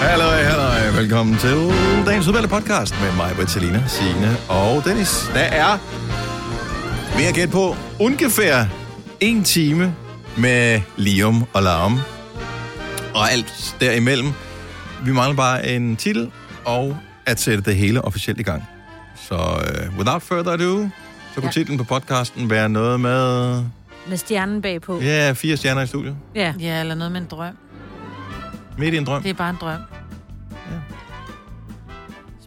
Hallo, hallo. Velkommen til dagens udvalgte podcast med mig, Bertalina, Signe og Dennis. Der er, ved at gætte på, ungefær en time med lium og larm. Og alt derimellem. Vi mangler bare en titel og at sætte det hele officielt i gang. Så uh, without further ado, så kunne Ja. titlen på podcasten være noget med... Med stjernen bagpå. Ja, yeah, fire stjerner i studiet. Ja. Ja, eller noget med en drøm. Midt i en drøm. Det er bare en drøm.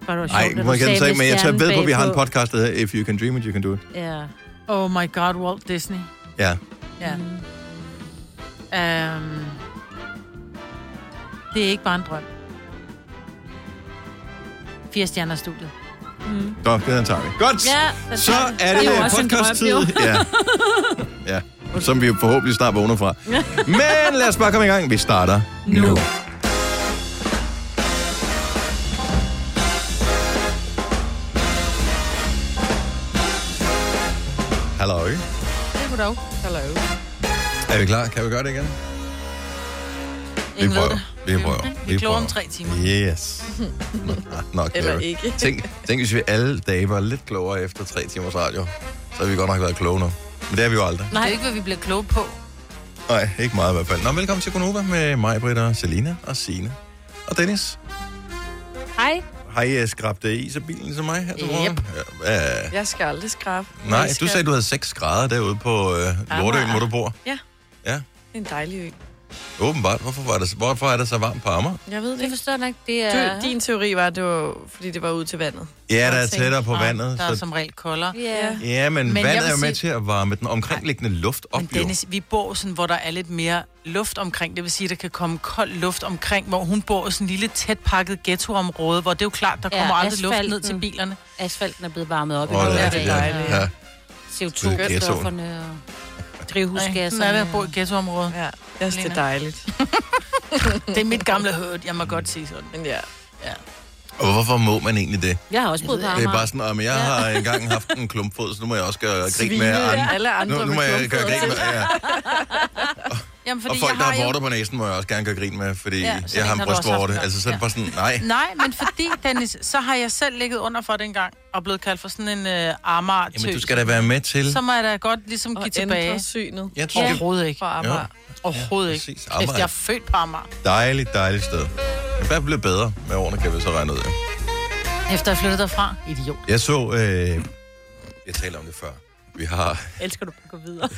Spørg, det var Nej, sjovt, at må jeg sagde ikke sige, med men jeg tager stjernen ved på, at vi har en bagpå. podcast, der hedder If You Can Dream It, You Can Do It. Ja. Oh my god, Walt Disney. Ja. Ja. Mm. Um, det er ikke bare en drøm. Fire stjerner i studiet. Godt, det tager vi. Godt! Ja, så er det, Det er jo det også en drøm, podcast-tid. jo. Ja. ja. Som vi forhåbentlig snart vågner fra. Men lad os bare komme i gang. Vi starter nu. nu. Hallo. Det kunne dog. Hello. Er vi klar? Kan vi gøre det igen? Vi Ingen ved prøver. det. Vi prøver. Vi er klogere om tre timer. Yes. Nå, nok Eller klogere. ikke. tænk, tænk, hvis vi alle dage var lidt klogere efter tre timers radio. Så havde vi godt nok været kloge nu. Men det er vi jo aldrig. Nej. Det er ikke, hvad vi bliver kloge på. Nej, ikke meget i hvert fald. Nå, velkommen til Gonova med mig, Britt og Selina og Sine og Dennis. Hej. Har I øh, skrabt det is af bilen som mig? her til Yep. morgen? Ja, øh, Jeg skal aldrig skrabe. nej, Jeg skal... du sagde, du havde 6 grader derude på øh, Lortøen, hvor du bor. Ja. Ja, Det er en dejlig ø. åbenbart. Hvorfor, var det, hvorfor er det så varmt på Amager? Jeg ved det Det ikke. forstår jeg nok. Det Du, er... Din teori var, at det var, fordi det var ude til vandet. Ja, der er Godt tænkt. tættere på vandet. Der er Så, som regel koldere. Ja. ja, men, Men jeg vandet vil er jo med sige- til at varme den omkringliggende luft op, Men Dennis, vi bor sådan, hvor der er lidt mere luft omkring. Det vil sige, at der kan komme kold luft omkring, hvor hun bor i sådan en lille tæt pakket ghettoområde, hvor det er jo klart, der Ja, kommer aldrig luft ned asfalten. til bilerne. Asfalten er blevet varmet op jo. i Åh, nogle det er af det rigtigt, dagene, dejligt. og ja. ja. CO2-stofferne og Nej, drivhusgasserne. sådan er det at bo i et ghettoområde. Ja, jeg synes, det er Lena. dejligt. Det er mit gamle hørt, jeg må godt sige sådan. Men ja, Og hvorfor må man egentlig det? Jeg har også boet på Det er Amager. bare sådan, at jeg har engang haft en klumpfod, så nu må jeg også gøre grin med andre. ja. alle andre Nu, nu må med jeg gøre klumpfødder. grin med... Ja. Jamen, Og fordi folk, jeg der har har jo... vorter på næsen, må jeg også gerne gøre grin med, fordi Ja, ja, sådan jeg har en en har du også brystvorte. haft engang. Altså, så er det Ja. bare sådan, nej. Nej, men fordi, Dennis, så har jeg selv ligget under for den gang, og blevet kaldt for sådan en øh, armar Jamen, du skal da være med til... Så må jeg da godt ligesom give Og tilbage. ændre synet Jeg tror, det Overhovedet ikke. for Amager. Overhovedet Ja, ikke. præcis. Kæft, jeg er født på Amager. er et dejligt, dejligt sted. I hvert fald blevet bedre med årene, kan vi så regne ud. ja. Efter jeg flyttede derfra. Idiot. Jeg så... Øh, jeg talte om det før. Vi har... Elsker du at gå videre?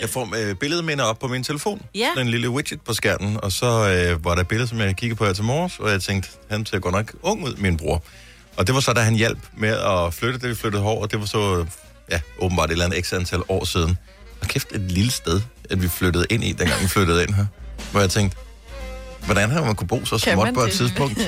Jeg får øh, billedminder op på min telefon. Ja. Den lille widget på skærmen. Og så øh, var der et billede, som jeg kiggede på her til morges, og jeg tænkte, han ser godt nok ung ud, min bror. Og det var så, da han hjalp med at flytte, da vi flyttede over, og det var så øh, ja, åbenbart et eller andet ekstra antal år siden. Og kæft, et lille sted, at vi flyttede ind i, dengang vi flyttede ind her. Hvor jeg tænkte, hvordan har man kunne bo så Kan småt man på et det? tidspunkt?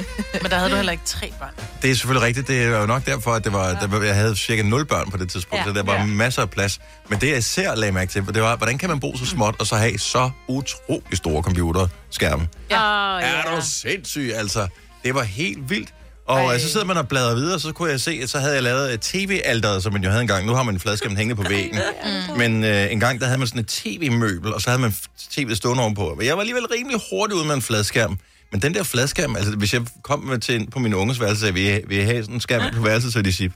Men der havde du heller ikke tre børn. Det er selvfølgelig rigtigt. Det er jo nok derfor, at det var, ja. der, var- jeg havde cirka 0 børn på det tidspunkt, ja. Ja. så der var ja. masser af plads. Men det, jeg især lagde mærke til, det var, hvordan kan man bo så småt og så have så utrolig store computerskærme? Åh, Ja. Er ja. du sindssyg, altså? Det var helt vildt. Og øh, så sidder man og bladrer videre, så kunne jeg se, at så havde jeg lavet et tv-alderet, som man jo havde engang. Nu har man en fladskærm hængende på væggen. Men øh, en gang, der havde man sådan et tv-møbel, og så havde man f- tv'et stående ovenpå. Men jeg var alligevel rimelig hurtig ude med en fladskærm. Men den der fladskærm, altså hvis jeg kom med til, ind på min unges værelse, sagde, vil, I, vil I have sådan en skærm ind på værelset, så ville de sige,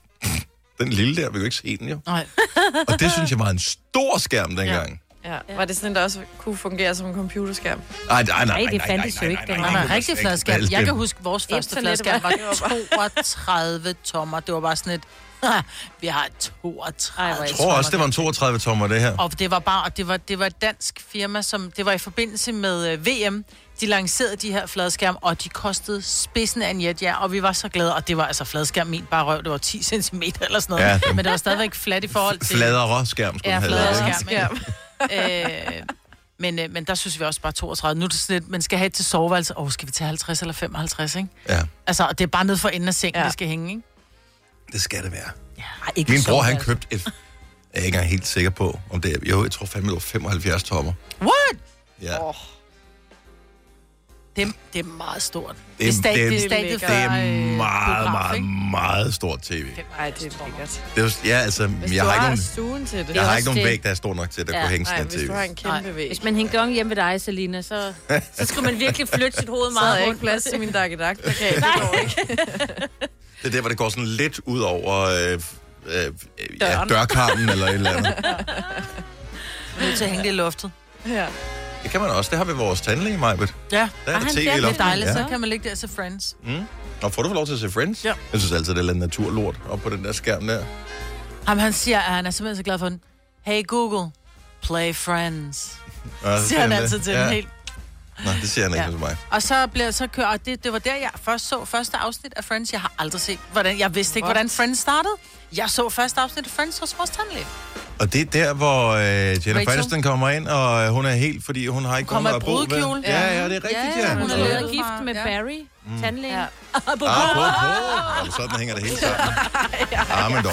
den lille der, vi kan jo ikke se den jo. Nej. Og det synes jeg var en stor skærm dengang. Ja. Var det sådan, der også kunne fungere som en computerskærm? Ej, nej, nej, nej, det nej, nej, fandtes jo nej, ikke nej, Nej, nej, nej, rigtig fladskærm. Jeg kan huske, vores første Internettet fladskærm var var- 32 tommer. Det var bare sådan et... Vi har et 32 Jeg tror også, det var en 32-tommer, det her. Og det var bare, og det var, det var et dansk firma, som det var i forbindelse med øh, VM. De lancerede de her fladskærm, og de kostede spidsen af en jetja, og vi var så glade. Og det var altså fladskærm, min bare røv, det var 10 cm eller sådan noget. Ja, Ja, det- Men det var stadigvæk flat i forhold til... Fladere skærm, skulle Ja, den have fladere heddet, ikke? skærm. Øh, men, øh, men der synes vi også bare 32. Nu er det sådan lidt, man skal have et til soveværelse. Åh, oh, skal vi tage 50 eller 55, ikke? Ja, Altså, og det er bare nede for enden af sengen, ja. Ja. det skal hænge, ikke? det skal det være. Ja, Ej, ikke Min bror, han købte et... Jeg er ikke engang helt sikker på, om det er... Jo, jeg tror fandme, det var 75 tommer. What? Ja. Åh, Dem, det er meget stort. Det Det er- er stadig det er- det, er stadig det er Det før, er øh, meget, biograf, meget, ikke? meget stort tv. Nej, det er lækkert. Det er, jo- ja, altså, Hvis jeg du har ikke har nogen, stuen til det. jeg har også ikke nogen det. væg, der er stor nok til, at der Ja. kunne hænge Nej, sådan et hvis tv. du har en kæmpe Nej, væg. Hvis man hængte dong hjemme ved dig, Selina, så, så skulle man virkelig flytte sit hoved Så havde meget jeg rundt. ikke plads til min dakkedak. Det kan jeg ikke. Det går ikke. Det er der, hvor det går sådan lidt ud over øh, øh, ja, Døren. dørkarmen eller et eller andet. Jeg er nødt til at hænge det i loftet. Ja. Det kan man også. Det har vi vores tandlæge, Majbet. Ja, Der er Ah, der han fjerner tv det i det er loftet. dejligt. dejligt, Ja. Så kan man lægge det til Friends. Mm. Og får du lov til at se Friends? Ja. Jeg synes altid, det er lidt naturlort op på den der skærm der. Jamen, han siger, at han er simpelthen så glad for den. Hey Google, play Friends. Ja, Siger han altid til ja. den helt. Nej, det siger han ikke Ja. hos mig. Og så, bliver, så kører, og det, det var der, jeg først så første afsnit af Friends. Jeg har aldrig set, hvordan, jeg vidste ikke, What? hvordan Friends startede. Jeg så første afsnit af Friends hos vores tandlæge. Og det er der, hvor øh, Jennifer Rachel? Aniston kommer ind, og øh, hun er helt, fordi hun har ikke Kommer nogen i at bo ved. brudekjole. Ja, ja, det er rigtigt, ja. Altså, Mm. hun Hun er er blevet løbet gift fra- med ja. Barry, tandlægen. Ja. Apropos. Jamen, sådan hænger det hele sammen. Ah, men dog.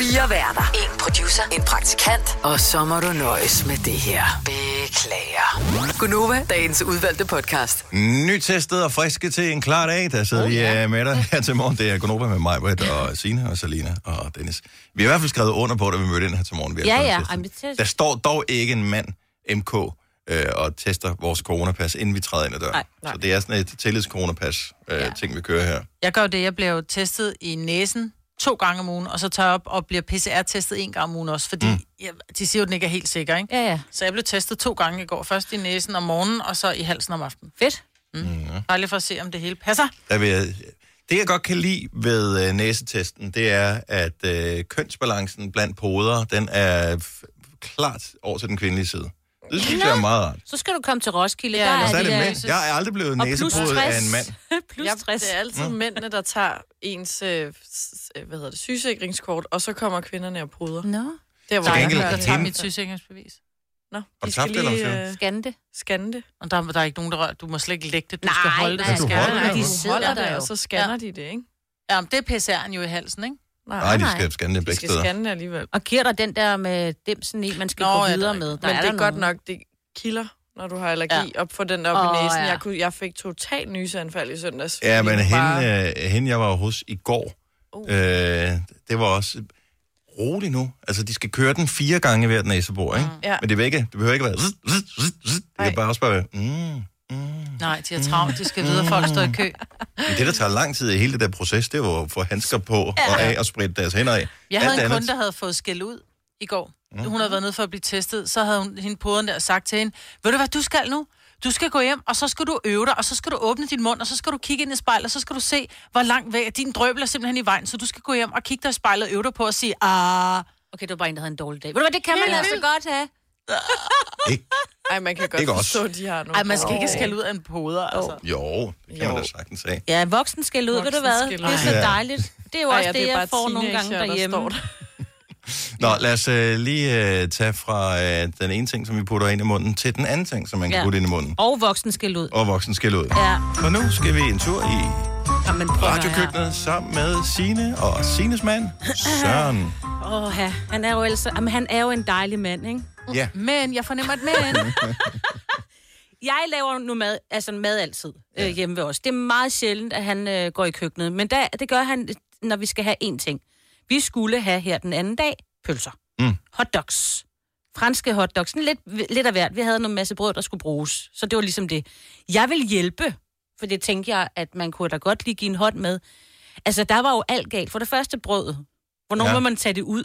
Fire værter. En producer. En praktikant. Og så må du nøjes med det her. Beklager. Gunova, dagens udvalgte podcast. Nytestet og friske til en klar dag. Der sidder vi øh, med dig her til morgen. Det er Gunnova med mig, Britt og Sine og Salina og Dennis. Vi har i hvert fald skrevet under på, da vi mødte ind her til morgen. Vi har Ja, fået ja. testet. Ej, men test- Der står dog ikke en mand, MK, øh, og tester vores coronapas, inden vi træder ind ad døren. Nej, Så det er sådan et tillidscoronapas, øh, ja. ting vi kører her. Jeg gør jo det, jeg bliver jo testet i næsen to gange om ugen, og så tager jeg op og bliver PCR-testet en gang om ugen også, fordi mm. jeg, de siger jo, at den ikke er helt sikker, ikke? Ja, ja. Så jeg blev testet to gange i går. Først i næsen om morgenen, og så i halsen om aftenen. Fedt. Dejligt for at se, om det hele passer. Mm-hmm. Der vil jeg, det, jeg godt kan lide ved øh, næsetesten, det er, at øh, kønsbalancen blandt poder, den er f- klart over til den kvindelige side. Det synes jeg er meget rart. Så skal du komme til Roskilde. Ja, der og Og så er de det der- mænd. Jeg er aldrig blevet Og plus næsebrudet af en mand. 60. plus 60. Det er Mm. altid mændene, der tager ens øh, s- øh, hvad hedder det, sygesikringskort, og så kommer kvinderne og pruder. Nå, Der, hvor Til jeg gengæld- hører, Jeg tager Hende- mit sygesikringsbevis. Nå, du de skal tabt det, eller hvad lige siger du? øh, skande. scanne det. Og der, der er ikke nogen, der rører. Du må slet ikke lægge det. Du Nej, skal holde nej, det. Men du skal holder det, nej, jo. de Du sidder holder der det, jo. og så scanner de det, ikke? Ja, men det er PCR'en jo i halsen, ikke? Nej, de nej. skal scanne det de begge skal steder. scanne det alligevel. Og giver dig den der med dimsen i, man skal Nå, ja, gå der videre er med. Der Men er det der er godt nogen. nok, det kilder, når du har allergi, op for den der op Åh, i næsen. ja. Jeg, kunne, jeg fik total nyseanfald i søndags. Ja, fordi men den bare- hende, øh, hende, jeg var hos i går, Uh. øh, det var også rolig nu. Altså, de skal køre den fire gange hvert næsebor, ikke? Mm. Ja. øh, Men det, vil ikke, det behøver ikke være... zzz, zzz, zzz, zzz. Det kan Nej. bare også bare være... Mm. Nej, de har travlt. De skal videre. Folk står i kø. Men det, der tager lang tid i hele det der proces, det er jo at få handsker på og af og spritte deres hænder af. Jeg Alt havde en andet- Mm. kunde, der havde fået skæld ud i går. Hun havde været nede for at blive testet. Så havde hun hende poderen der sagt til hende, ved du hvad du skal nu? Du skal gå hjem, og så skal du øve dig, og så skal du åbne din mund, og så skal du kigge ind i spejlet, og så skal du se, hvor langt væk din drøbel er simpelthen i vejen. Så du skal gå hjem og kigge dig i spejlet og øve dig på at sige, ah, Okay, det var bare en, der havde en dårlig dag. Ved du hvad, det kan man altså godt have. Ikke? Ej, man kan godt Ikke os. forstå, at de har nogle... Ej, man skal ikke skælde ud af en poder, altså. Jo, det kan man Jo. da sagtens af. Ja, voksen skal ud, ved du hvad? Det Voksenskæld ud. er så Ja. dejligt. Det er jo Ej, også ja, det, er jeg bare får nogle gange teenager, der derhjemme. står der. Nå, lad os øh, lige øh, tage fra øh, den ene ting, som vi putter ind i munden, til den anden ting, som man kan Ja. putte ind i munden. Og voksen skal ud. Og voksen skal ud. Ja, For nu skal vi en tur i Jamen, prøv at høre her. radiokøkkenet sammen med Sine og Sines mand, Søren. Åh, ja. han er jo altså... Jamen, han er jo en dejlig mand, ikke? Ja, Men jeg fornemmer et men. Jeg laver nu mad, altså mad altid øh, hjemme ved os. Det er meget sjældent, at han øh, går i køkkenet, men der, det gør han, når vi skal have én ting. Vi skulle have her den anden dag pølser. Mm. Hotdogs. Franske hotdogs. Sådan Lidt, lidt af hvert. Vi havde noget masse brød, der skulle bruges. Så det var ligesom det. Jeg vil hjælpe, for det tænkte jeg, at man kunne da godt lige give en hånd med. Altså, der var jo alt galt. For det første brødet. Hvornår Ja. ja. må man tage det ud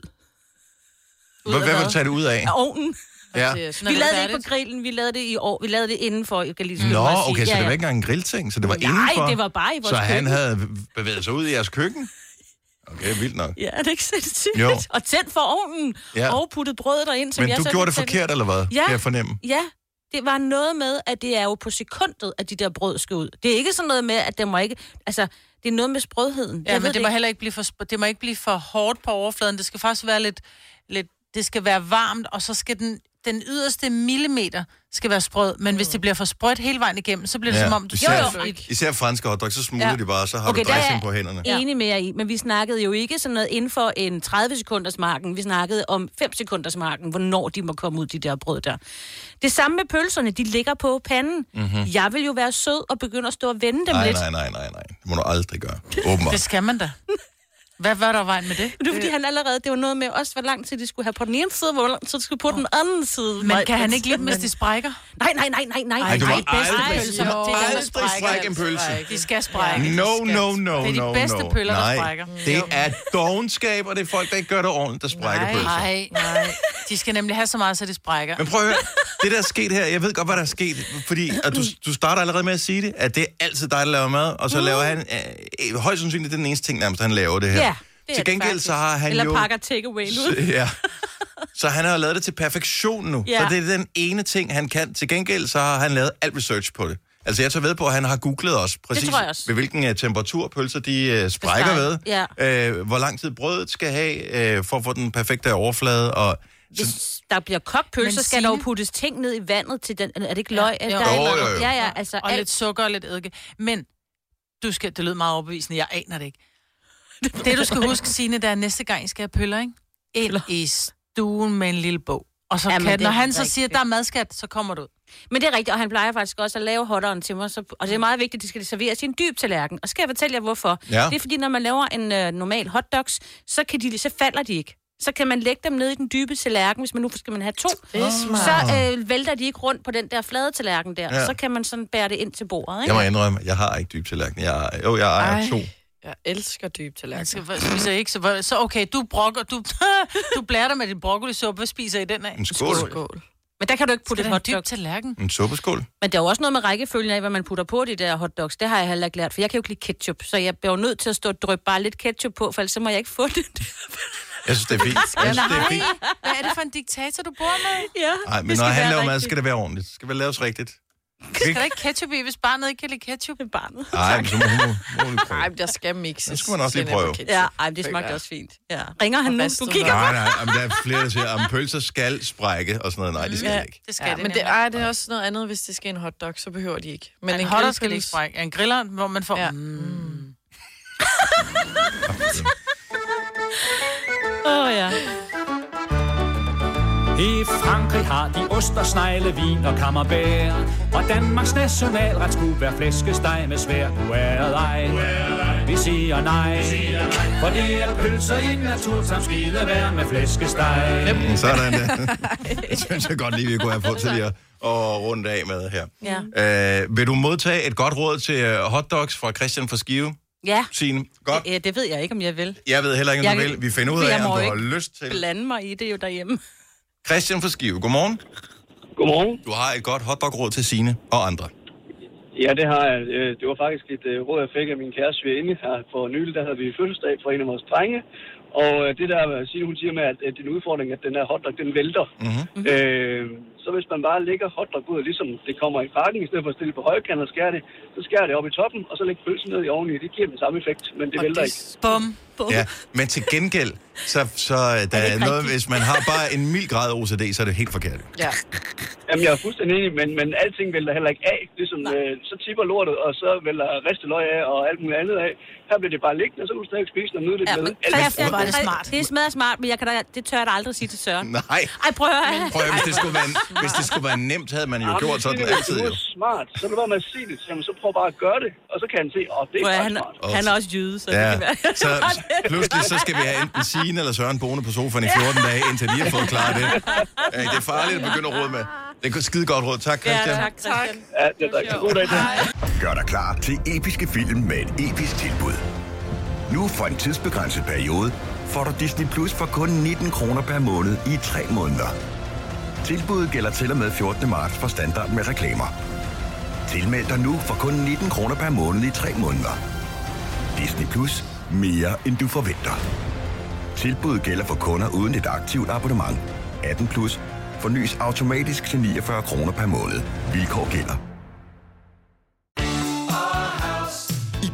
hvad, hvad vil du tage det ud af? af ovnen? Ja. Når Vi er lavede det ikke færdigt. på grillen, vi lavede det i år. Vi lavede det indenfor, jeg kan lige skynde Nå, mig at sige. okay, så Ja, det ja. var ikke engang en grillting, så det var indenfor. Nej, det var bare i vores Så han køkken. havde bevæget sig ud i jeres køkken? Okay, vildt nok. Ja, er det ikke sindssygt? Jo. Og tændt for ovnen, Ja. ja. og puttet brødet derind, som Men jeg du så gjorde det tændte. forkert, eller hvad? Ja. Kan jeg fornemme? Ja, det var noget med, at det er jo på sekundet, at de der brød skal ud. Det er ikke sådan noget med, at det må ikke... Altså, det er noget med sprødheden. Ja, jeg men ved det må heller ikke blive for, sp- det må ikke blive for hårdt på overfladen. Det skal faktisk være lidt, lidt det skal være varmt, og så skal den den yderste millimeter skal være sprød, men Mm. hvis det bliver for sprødt hele vejen igennem, så bliver det ja. som om... Jo, især, jo, i- især franske hotdogs, så smuler ja. de bare, så har okay, du der er dressing jeg på hænderne. enig med jer i, men vi snakkede jo ikke sådan noget inden for en 30 sekunders marken. Vi snakkede om 5 sekunders marken, hvornår de må komme ud, de der brød der. Det samme med pølserne, de ligger på panden. Mm-hmm. Jeg vil jo være sød og begynde at stå og vende dem Mhm. Nej, lidt. nej, nej, nej, nej. Det må du aldrig gøre. Åbenbart. Det skal man da. Hvad var der vejen med det? Men Det er Øh. fordi, han allerede, det var noget med også, hvor lang tid de skulle have på den ene side, hvor lang tid de skulle på den anden side. Men kan han ikke lidt, hvis de sprækker? Nej, nej, nej, nej, nej. Ej, du må nej, bedste aldrig- pølser. du må Det er dem, der aldrig sprække en pølse. De skal sprække. de No, skal. no, no, Det er de no, bedste no. pøller, der Nej, sprækker. det er dogenskab, og det er folk, der ikke gør det ordentligt, der sprækker Nej, pølser. nej, nej. De skal nemlig have så meget, så de sprækker. Men prøv at høre, det der er sket her, jeg ved godt, hvad der er sket, fordi at du, du starter allerede med at sige det, at det er altid dig, der laver mad, og så Mm. laver han, øh, højst sandsynligt, det er den eneste ting nærmest, han laver det her. Ja, det er det Til gengæld så har han Eller jo... pakker takeaway ud. Så- Ja. Så han har lavet det til perfektion nu. Ja. Ja. Så det er den ene ting, han kan. Til gengæld så har han lavet alt research på det. Altså jeg tager ved på, at han har googlet også præcis, tror jeg også. ved hvilken uh, temperatur pølser de uh, sprækker ved. Besteg, Uh, hvor lang tid brødet skal have uh, for at få den perfekte overflade. Og, så, Hvis der bliver kogt pølse, Men så skal der Signe- jo puttes ting ned i vandet til den. Er det ikke løg? Ja, jo. der er Jo, noget- jo, jo. ja, ja, altså Og alt. lidt sukker og lidt eddike. Men du skal, det lød meget overbevisende, jeg aner det ikke. Det du skal huske, Signe, det er at næste gang, I skal have pøller, ikke? Ind i stuen med en lille bog. Og så Jamen, kan, det når er han så rigtigt. siger, at der er madskat, så kommer du ud. Men det er rigtigt, og han plejer faktisk også at lave hotteren til mig. Så, og Mm. det er meget vigtigt, at de skal serveres i en dyb tallerken. Og skal jeg fortælle jer, hvorfor? Ja. Det er fordi, når man laver en øh, normal hotdogs, så, kan de, så falder de ikke. Så kan man lægge dem ned i den dybe tallerken, hvis man nu skal man have to. Det er smart. Så øh, vælter de ikke rundt på den der flade tallerken der. Ja. Ja. Så kan man sådan bære det ind til bordet, jeg ikke? må indrømme, jeg har ikke dyb tallerken. Jeg, jo, jeg ejer Ej. to. Jeg elsker dyb Han tallerken. skal, hvad spiser I ikke? Så, hvor- så okay, du brokker, du, du blærer dig med din broccolisuppe. Hvad spiser I den af? En skål. Skål. Men der kan du ikke putte Det et er en dyb hotdog. tallerken. Mm. En suppeskål. Men der er jo også noget med rækkefølgen af, hvad man putter på de der hotdogs. Det har jeg heller ikke lært, for jeg kan jo ikke lide ketchup. Så jeg bliver jo nødt til at stå og dryppe bare lidt ketchup på, for ellers så må jeg ikke få det. Jeg synes, det er fint. Jeg synes, Altså, det er fint. Hvad er det for en diktator, du bor med? ja, Ej, men når han laver mad, så skal det være ordentligt. Det skal vel laves rigtigt. Skal der ikke ketchup i, hvis barnet ikke kan lide ketchup? det barnet. Nej, men så må hun må, må Nej, men der skal mixes. Det skulle man også lige sennep og prøve. ketchup, Ja, ej, men det føler smagte jeg. også fint. Ja. Ringer han nu? Du ristet kigger Nej, nej, men der er flere, der siger, at pølser skal sprække og sådan noget. Nej, det skal ja. ikke. Det skal Ja, det men det, nemlig. ej, det er også noget andet, hvis det skal en hotdog, så behøver de ikke. Men en hotter skal det ikke sprække. En griller, hvor man får... Ja. Ja. Mm. Åh, oh, ja. I Frankrig har de ost og snegle, vin og kammerbær. Og Danmarks nationalret skulle være flæskesteg med svær. Du er ej, vi siger nej. For det er pølser i naturtams vilde vær med flæskesteg. Mm, Sådan der. Det synes jeg godt lige, vi kunne have fået til lige at at runde af med her. Ja. Øh, vil du modtage et godt råd til øh, hotdogs fra Christian fra Skive, Ja. Signe? Godt. ja, det ved jeg ikke, om jeg vil. Jeg ved heller ikke, om du Jeg kan- vil. Vi finder ud Jeg af, om må du ikke har lyst til. Blande mig i det jo derhjemme. Christian fra Skive, godmorgen. Godmorgen. Du har et godt hotdog-råd til Signe og andre. Ja, det har jeg. Øh, Det var faktisk et øh, råd, jeg fik af min kæreste svigerinde her for nylig. Der havde vi fødselsdag for en af vores drenge. Og øh, det der, øh, Signe, hun siger med, at, at det er en udfordring, at den her hotdog, den vælter. Mm-hmm. Øh, så hvis man bare lægger hotdog ud, ligesom det kommer i pakken, i stedet for at stille på højkant og skære det, så skærer det op i toppen, og så lægger pølsen ned i oveni. Det giver den samme effekt, men det vælter ikke. Bum. Ja, men til gengæld, så, så øh, der er noget, hvis man har bare en mild grad af OCD, så er det helt forkert. Ja. Jamen, jeg er fuldstændig enig, men, men alting vælter heller ikke af. Ligesom, øh, så tipper lortet, og så vælter risteløg af og alt muligt andet af. Her bliver det bare liggende, og så kan du stadig spise noget nydeligt Ja, med. men Alt er Christian, Altså, hvor er det smart. Det er smadret smart, men jeg kan da, det tør jeg da aldrig sige til Søren. Nej. Ej, prøv at høre. Prøv at, høre, hvis det, skulle være, hvis det skulle være nemt, havde man jo Jamen, gjort sådan det er altid. Jo. Det er smart. Så lad være med at sige det til ham, så prøv bare at gøre det, og så kan han se, åh, oh, det er Prøv at, høre, bare han, smart. han er også jyde, så det Ja, kan være. så pludselig så skal vi have enten Signe eller Søren boende på sofaen i 14 dage, indtil de har fået klaret det. Øh, Det er farligt at begynde at råde med. Det er et skide godt råd. Tak, Ja, Christian. tak, tak. Ja, det er rigtig god dag til. Gør dig klar til episke film med et episk tilbud. Nu for en tidsbegrænset periode får du Disney Plus for kun 19 kroner per måned i 3 måneder. Tilbuddet gælder til og med 14. marts for standard med reklamer. Tilmeld dig nu for kun 19 kroner per måned i 3 måneder. Disney Plus. Mere end du forventer. Tilbuddet gælder for kunder uden et aktivt abonnement. 18 plus. Fornyes automatisk til 49 kroner per måned. Vilkår gælder. I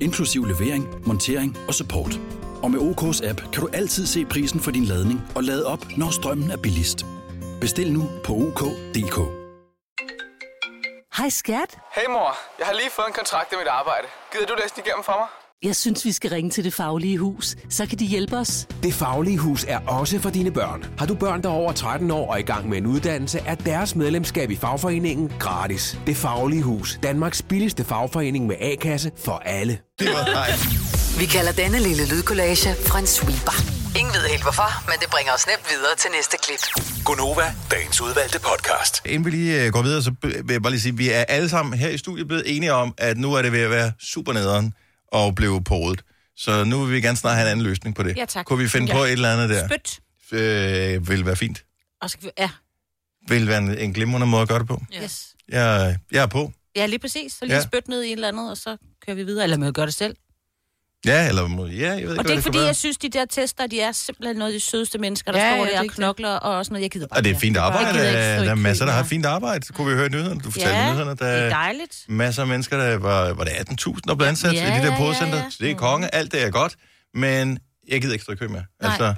inklusiv levering, montering og support. Og med OK's app kan du altid se prisen for din ladning og lade op, når strømmen er billigst. Bestil nu på OK.dk. Hej skat. Hey mor, jeg har lige fået en kontrakt med mit arbejde. Gider du læse den igennem for mig? Jeg synes, vi skal ringe til Det Faglige Hus. Så kan de hjælpe os. Det Faglige Hus er også for dine børn. Har du børn, der er over 13 år og i gang med en uddannelse, er deres medlemskab i fagforeningen gratis. Det Faglige Hus. Danmarks billigste fagforening med A-kasse for alle. Det var dejligt. Vi kalder denne lille lydkollage en sweeper. Ingen ved helt hvorfor, men det bringer os nemt videre til næste klip. Gonova, dagens udvalgte podcast. Inden vi lige øh, går videre, så b- vil jeg bare lige sige, at vi er alle sammen her i studiet blevet enige om, at nu er det ved at være super nederen og blive podet. Så nu vil vi gerne snart have en anden løsning på det. Ja, tak. Kunne vi finde Ja. på et eller andet der? Spyt. Øh, vil være fint. Og så kan vi... Ja, Vil være en, en glimrende måde at gøre det på. yes. Jeg, jeg er på. Ja, lige præcis. Så lige Ja. ja. spyt ned i et eller andet, og så kører vi videre. Eller man kan gøre det selv. Ja, eller... må- Ja, jeg ved ikke, og det er hvad ikke, skal fordi være. jeg synes, de der tester, de er simpelthen noget af de sødeste mennesker, der Ja, ja, står ja, det der er og ikke det. knokler og sådan noget. Jeg gider bare Og det er ikke fint mere. Jeg arbejde. gider ikke Der, stå i der er kø, masser, der har ja. fint arbejde. Kunne vi høre i nyhederne? Du fortalte Ja, i nyhederne, der det er er dejligt. masser af mennesker, der var, var det 18.000, der blev ansat Ja, i de ja, der ja, podecenter. ja. Mm. Så det er konge, alt det er godt, men jeg gider ikke stå i kø mere. Nej. Altså,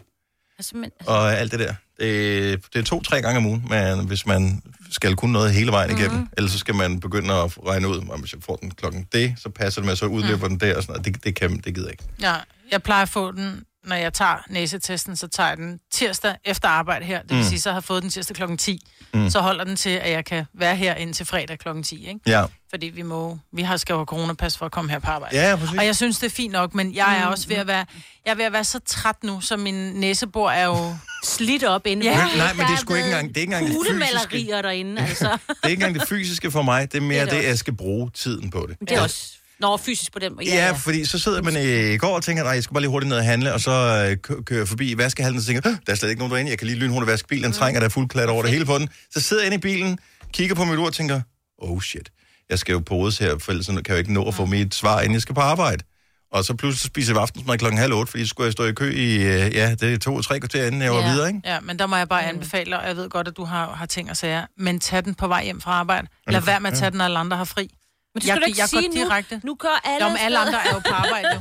Altså, men, og alt det der. Det, det er to-tre gange om ugen, men hvis man skal kunne noget hele vejen igennem, Mhm. mm-hmm. ellers så skal man begynde at regne ud, om hvis jeg får den klokken det, så passer det med, så udløber den der og sådan noget. Det, det kan det gider jeg ikke. Ja, jeg plejer at få den, når jeg tager næsetesten, så tager jeg den tirsdag efter arbejde her. Det vil Mm. mm. sige, så har jeg fået den tirsdag klokken 10. Mm. Mm. Så holder den til, at jeg kan være her indtil fredag klokken 10, ikke? Ja. Fordi vi må, vi har skal jo have coronapas for at komme her på arbejde. Ja, ja, præcis. Og jeg synes, det er fint nok, men jeg er Mm. også ved at være, jeg er ved at være så træt nu, så min næsebor er jo slidt op inde. Ja. Men, nej, men det er sgu ikke engang, det er ikke engang det fysiske. Hulemalerier derinde, altså. Det er ikke engang det fysiske for mig, det er mere Det er det, det også. jeg skal bruge tiden på det. Men det er også... Nå, fysisk på den. Ja, Ja, ja, fordi så sidder man øh, i går og tænker, nej, jeg skal bare lige hurtigt ned og handle, og så øh, kø- kører jeg forbi i vaskehallen og tænker, "Hå, der er slet ikke nogen derinde, jeg kan lige lynhurtigt vaske Mm. bilen, den trænger, der er fuld klat over det hele på den. Så sidder jeg inde i bilen, kigger på mit ur og tænker, oh shit, jeg skal jo podes her, for ellers så kan jeg jo ikke nå at få Mm. mit svar, inden jeg skal på arbejde. Og så pludselig så spiser jeg aftensmad klokken halv otte, fordi så skulle jeg stå i kø i, øh, ja, det er to-tre kvarter, inden jeg var ja. videre, ikke? Ja, men der må jeg bare Mm. anbefale, og jeg ved godt, at du har, har ting og sager, men tag den på vej hjem fra arbejde. Lad være med at tage den, når alle andre har fri. Men det skal jeg, du ikke jeg sige nu. direkte. Nu gør alle... Nå, men alle andre er jo på arbejde, jo.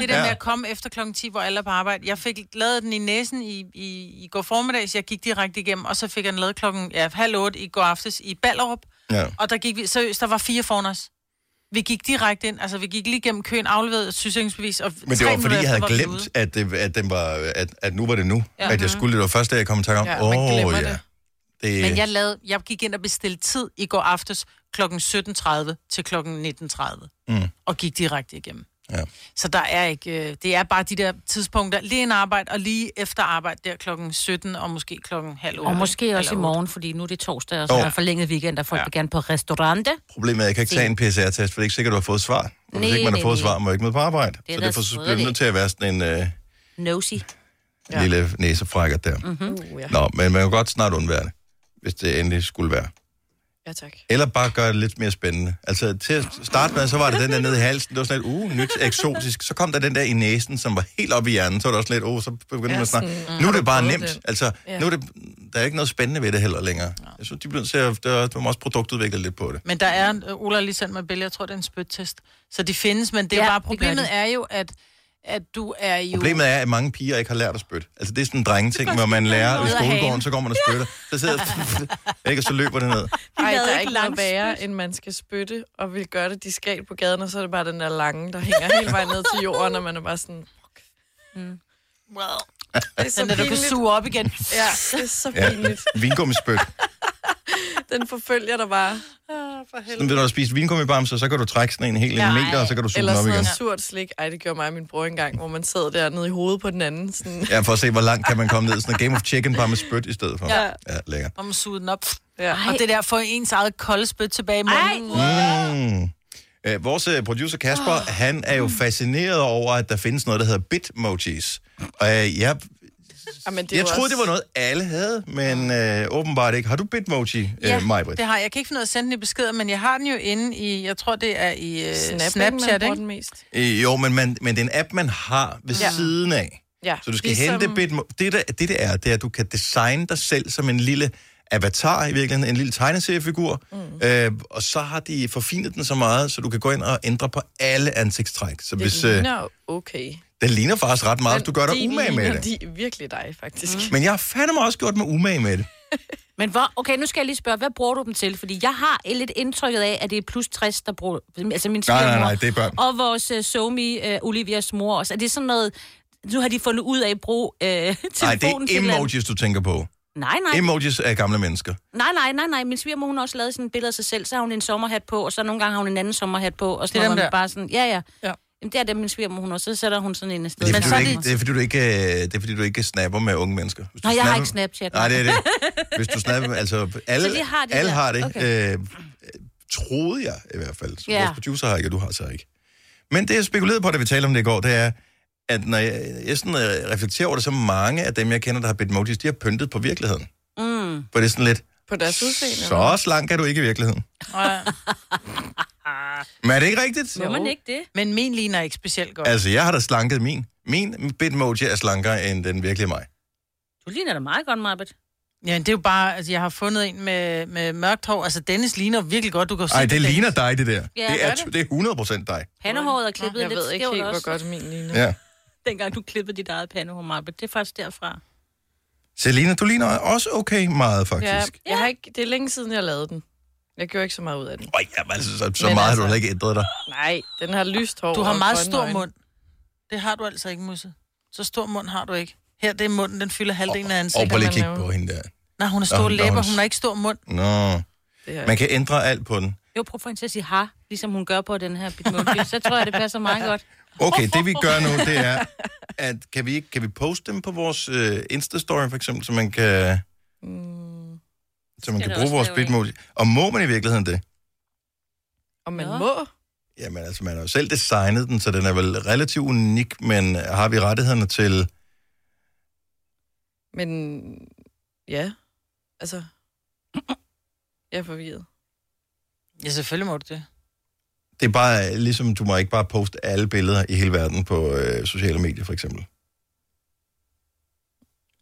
Det der Ja. ja. med at komme efter klokken 10, hvor alle er på arbejde. Jeg fik lavet den i næsen i, i, i går formiddags, jeg gik direkte igennem, og så fik jeg den lavet klokken ja, halv otte i går aftes i Ballerup. Ja. Og der gik vi, seriøst, der var fire foran os. Vi gik direkte ind, altså vi gik lige gennem køen, afleverede et sygesikringsbevis. Og Men det tre var fordi, minutter jeg havde efter var vi ude. glemt, at, det, at, den var, at, at nu var det nu, Ja. ja. at jeg Mhm. skulle. Det var først, da jeg kom i tanke om, Ja, åh man ja, glemmer oh, ja. det. Det, Men jeg, lavede, jeg gik ind og bestilte tid i går aftes kl. 17.30 til kl. 19.30 Mm. og gik direkte igennem. Ja. Så der er ikke, øh, det er bare de der tidspunkter, lige en arbejde og lige efter arbejde der klokken 17 og måske klokken halv 8. Og måske også i morgen, fordi nu er det torsdag, og så Jo. er der forlænget weekend, og folk ja. vil gerne på restaurante. Problemet er, at jeg kan ikke tage en PCR-test, for det er ikke sikkert, du har fået svar. Og hvis Nej, ikke man har nej, fået nej. svar, må jeg ikke med på arbejde. Det er så da derfor så bliver det frygteligt. nødt til at være sådan en øh, Nosy. ja. lille næsefrækker der. Mm-hmm. Nå, men man kan godt snart undvære det, hvis det endelig skulle være. Ja, tak. Eller bare gøre det lidt mere spændende. Altså til at starte med, så var det den der nede i halsen, det var sådan lidt, uh, nyt eksotisk. Så kom der den der i næsen, som var helt oppe i hjernen, så var det også lidt, uh, så begyndte Ja, man at snakke. sådan, Nu er har det du bare prøvet nemt. den? Altså, Ja. nu er det, der er ikke noget spændende ved det heller længere. Jeg synes, de bliver nødt til at, der, der må også produktudvikle lidt på det. Men der er, øh, Ola har lige sendt mig billeder, jeg tror, det er en spyttest. Så de findes, men det er Ja, ja, bare, det gør de. problemet er jo, at, at du er jo... Problemet er, at mange piger ikke har lært at spytte. Altså, det er sådan en drengeting, hvor man lærer i noget af skolegården, hagen. så går man og spytter. Så sidder ikke, og så løber det ned. Ej, lavede der er ikke ikke noget værre, end man skal spytte, og vil gøre det diskret på gaden, og så er det bare den der lange, der hænger hele vejen ned til jorden, og man er bare sådan... fuck. Wow. Det er så Den der, du kan pinligt. suge op igen. Ja, det er så Ja, pinligt. vingummispyt. Den forfølger dig bare. Ah, Sådan, når du har spist vingummibamser, så kan du trække sådan en hel en meter, og så kan du suge Eller den op sådan igen. noget surt slik. Ej, det gjorde mig og min bror engang, hvor man sad dernede i hovedet på den anden. Sådan. Ja, for at se, hvor langt kan man komme ned. Sådan en game of chicken, bare med spyt i stedet for. Ja. ja lækker. Om at suge den op. Ja. Og det der, få ens eget kolde spyt tilbage i munden. Mm. Øh, vores øh, producer Kasper, oh. han er jo fascineret over, at der findes noget, der hedder bitmojis. Og øh, jeg, Jamen, det er jeg jo troede, også- det var noget, alle havde, men øh, åbenbart ikke. Har du bitmoji, Ja, øh, Majbrit? det har jeg. Jeg kan ikke finde ud af at sende den i beskeder, men jeg har den jo inde i, jeg tror det er i uh, Snap, ikke? Snapchat, Man bruger ikke? den mest. Øh, jo, men, man, men det er en app, man har ved ja. Ja. siden af. Ja, Så du skal ligesom... hente Bitmo... Det, der, det, det er, det er, at du kan designe dig selv som en lille avatar i virkeligheden, en lille tegneseriefigur, mm. øh, og så har de forfinet den så meget, så du kan gå ind og ændre på alle ansigtstræk. Så det, hvis, øh, ligner okay. det ligner faktisk ret meget, hvis du gør dig de umage med ligner det. De virkelig dig, faktisk. Mm. Men jeg har fandme også gjort mig umage med det. Men hvor, okay, nu skal jeg lige spørge, hvad bruger du dem til? Fordi jeg har lidt indtrykket af, at det er plus 60, der bruger... Altså min Nej, nej, nej, svigermor det er børn. Og vores uh, somi, uh, Olivias mor også. Er det sådan noget... Nu har de fundet ud af at bruge uh, telefonen Nej, det til er et eller andet? emojis, du tænker på. Nej, nej. Emojis er gamle mennesker. Nej, nej, nej, nej. Min svigermor, hun har også lavet sådan et billede af sig selv. Så har hun en sommerhat på, og så nogle gange har hun en anden sommerhat på. Og sådan Det er noget, dem hvor der. man bare sådan, ja, ja. ja. Jamen, det er dem, min svigermor, hun har. Så sætter hun sådan en afsted. Det er, fordi, du ikke, det, er, fordi du ikke, øh, det er fordi, du ikke snapper med unge mennesker. Hvis du Nå, jeg har snapper- ikke Snapchat. Nej, det er det. Hvis du snapper, altså alle, Så de har har det det, alle der. har det. Okay. Okay. Øh, troede jeg i hvert fald. Ja. Ja. Vores producer har ikke, og du har så ikke. Men det, jeg spekulerede på, da vi talte om det i går, det er, at når jeg, jeg sådan, øh, reflekterer over det, så mange af dem, jeg kender, der har bitmojis, de har pyntet på virkeligheden. Mm. For det er sådan lidt, På deres udseende. så slank er du ikke i virkeligheden. Men er det ikke rigtigt? Må man ikke det? Men min ligner ikke specielt godt. Altså, jeg har da slanket min. Min bitmoji er slankere end den virkelige mig. Du ligner da meget godt, Marbet. Ja, det er jo bare, altså jeg har fundet en med, med mørkt hår. Altså Dennis ligner virkelig godt, du kan jo se Nej, det Dennis. ligner dig, det der. Ja, det, gør er, det? det er 100% dig. Pandehåret er klippet Jeg lidt ved ikke skævt helt, hvor også. godt min ligner. Ja. Dengang du klippede dit eget pandehår, Marbet. Det er faktisk derfra. Selina, du ligner også okay meget, faktisk. Ja. Ja, jeg har ikke, det er længe siden, jeg lavede den. Jeg gjorde ikke så meget ud af den. Øj, jamen, altså, så, så Men meget altså... har du altså- heller ikke ændret dig. Nej, den har lyst hår. Du har og meget grønne stor øjne. mund. Det har du altså ikke, Musse. Så stor mund har du ikke. Her, det er munden, den fylder halvdelen af Og ansigtet. prøv lige at kigge på hende der. Nej, hun har Nå, store nå, læber, hun- hun har ikke stor mund. Nå. Det er- Man kan ændre alt på den. Jo, prøv for hende til at sige har, ligesom hun gør på den her bitmoji. Så tror jeg, det passer meget godt. Okay, det vi gør nu, det er, at kan vi, ikke- kan vi poste dem på vores øh, Insta-story, for eksempel, så man kan, så man Skal kan det bruge også vores lave en? bitmoji. Og må man i virkeligheden det? Og man må. Jamen altså, man har jo selv designet den, så den er vel relativt unik, men har vi rettighederne til... Men ja, altså, jeg er forvirret. Ja, selvfølgelig må du det. Det er bare øh, ligesom, du må ikke bare poste alle billeder i hele verden på øh, sociale medier, for eksempel.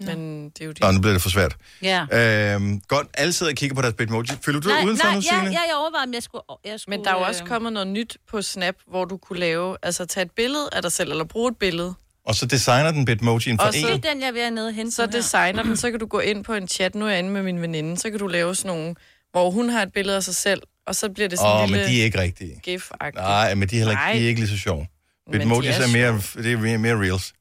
Men det er jo det. Nå, nu bliver det for svært. Ja. Øhm, godt, alle sidder og kigger på deres bitmoji. Følger du dig udenfor nu, ja, Signe? ja, jeg overvejer, om jeg skulle... Jeg skulle Men der er jo også øh, kommet noget nyt på Snap, hvor du kunne lave, altså tage et billede af dig selv, eller bruge et billede. Og så designer den bitmojien for Og så- en. Den, jeg er ved at nede og hente Så designer den, så kan du gå ind på en chat, nu er jeg inde med min veninde, så kan du lave sådan nogle, hvor hun har et billede af sig selv, og så bliver det sådan Åh, en men lille de er ikke rigtige. gif -agtigt. Nej, men de er, heller ikke, de er ikke lige så sjove. Men Bitmojis de er er, mere, det er mere, mere reels.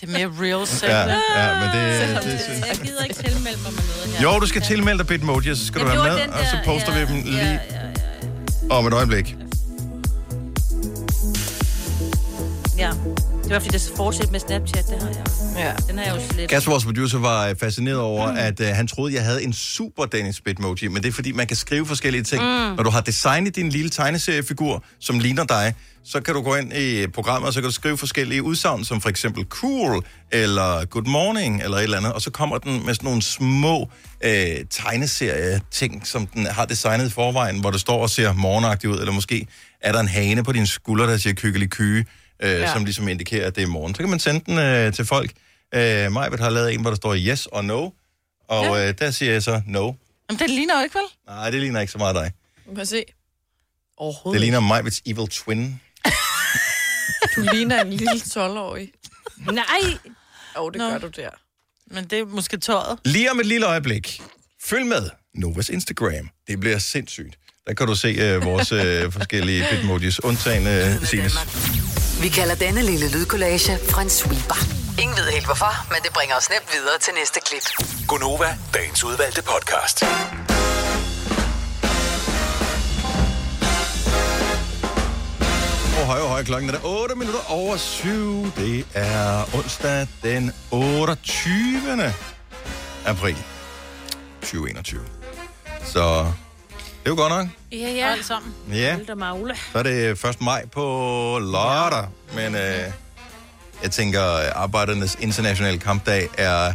Det er mere real selv. Ja, ja, men det, Selvom det, det, jeg gider ikke tilmelde mig med noget her. Jo, du skal tilmelde dig bitmojis, så skal Jeg du være gjorde med, den og så der, poster ja, vi dem lige om et øjeblik. Ja, det var fordi, det fortsætter med Snapchat, det har jeg. Ja. Den har jeg jo slet. Kasper, vores producer, var øh, fascineret over, mm. at øh, han troede, jeg havde en super Dennis Bitmoji, men det er fordi, man kan skrive forskellige ting. Mm. Mm. Når du har designet din lille tegneseriefigur, som ligner dig, så kan du gå ind i programmet, og så kan du skrive forskellige udsagn, som for eksempel cool, eller good morning, eller et eller andet, og så kommer den med sådan nogle små øh, tegneserie-ting, som den har designet i forvejen, hvor du står og ser morgenagtig ud, eller måske er der en hane på din skulder, der siger kykkelig kyge, øh, Ja. ja. som ligesom indikerer, at det er morgen. Så kan man sende den øh, til folk. Øh, Majbet har lavet en, hvor der står yes og no, og ja. øh, der siger jeg så no. Jamen, det ligner jo ikke, vel? Nej, det ligner ikke så meget dig. Må jeg se? Overhovedet. Det ligner Majbets evil twin. ikke. Du ligner en lille 12-årig. Nej! Åh, oh, det Nå. gør du der. Men det er måske tøjet. Lige om et lille øjeblik. Følg med Novas Instagram. Det bliver sindssygt. Der kan du se øh, vores øh, forskellige bitmojis, undtagen øh, Sines. Vi kalder denne lille lydkollage en sweeper. Ingen ved helt hvorfor, men det bringer os nemt videre til næste klip. Gonova, dagens udvalgte podcast. Åh, høje, høje klokken er der 8 minutter over 7. Det er onsdag den 28. april 2021. Så Det er jo godt nok. Ja, ja. Alle sammen. Ja. Hold da magle. Så er det 1. maj på lørdag, men øh, jeg tænker, arbejdernes internationale kampdag er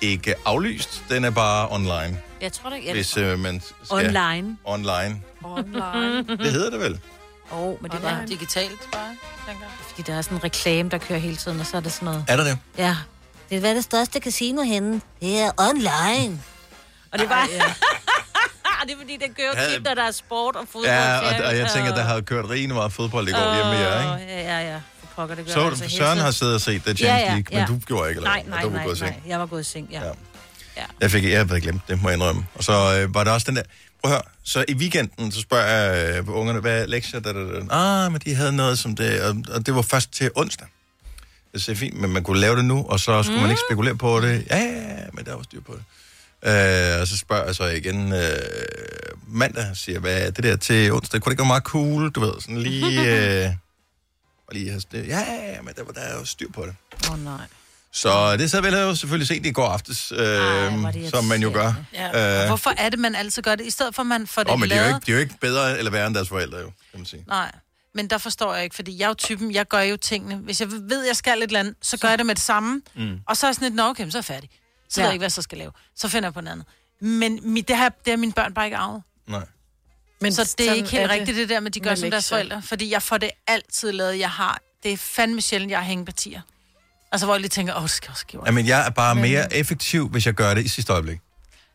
ikke aflyst, den er bare online, Jeg tror da ikke, ja, jeg... hvis øh, man skal... Online. Mm-hmm. Online. Online. Det hedder det vel? Åh, oh, men det var Online. digitalt bare, tænker jeg. Fordi der er sådan en reklame, der kører hele tiden, og så er det sådan noget. Er der det? Ja. Det er hvad er det største casino henne. Det er online. og det var... Ej, ja. det er fordi, det gør Ja. tit, når der er sport og fodbold. Ja, og, serie, og jeg tænker, der har kørt rigende meget fodbold i går hjemme med jer, ikke? Åh, Ja, ja, ja. For pokker, det gør Så det du, hele Søren har tiden. siddet og set det Champions League, men du gjorde ikke, eller Nej, hvad? nej, du var nej, gået i seng. nej. Jeg var gået i seng, ja. ja. Jeg fik, jeg havde glemt det, må jeg indrømme. Og så øh, var der også den der, prøv at høre, så i weekenden, så spørger jeg øh, ungerne, hvad er lektier? Da, da, da. Ah, men de havde noget som det, og, og det var først til onsdag. Det er fint, men man kunne lave det nu, og så skulle mm. man ikke spekulere på det. Ja, ja, ja, men der var styr på det. Øh, og så spørger jeg så igen øh, mandag, siger jeg, hvad er det der til onsdag? Kunne det ikke være meget cool, du ved, sådan lige... Øh, og lige have, ja, ja, ja, men der, var- der er jo styr på det. Åh, oh, nej. Så det så vel jeg jo selvfølgelig set i går aftes, øh, Øhm, Ej, som man jo gør. Ja. Øh, Og hvorfor er det, man altid gør det? I stedet for, at man får det Åh, men de er, jo lavet... ikke, de er jo ikke bedre eller værre end deres forældre, jo, kan man sige. Nej, men der forstår jeg ikke, fordi jeg er jo typen, jeg gør jo tingene. Hvis jeg ved, jeg skal et eller andet, så gør jeg det med det samme. Mm. Og så er jeg sådan lidt, nå okay, men så er jeg færdig. Så ja. ved Ja. jeg ikke, hvad jeg så skal lave. Så finder jeg på noget andet. Men mit, det, her, det har mine børn bare ikke arvet. Nej. Men så det er sådan ikke helt er det rigtigt, det der med, de gør med som deres lektier. forældre. Fordi jeg får det altid lavet, jeg har. Det er fandme sjældent, jeg har hængepartier. Altså, hvor jeg lige tænker, åh, det skal jeg også give. Jamen, jeg er bare mere effektiv, hvis jeg gør det i sidste øjeblik.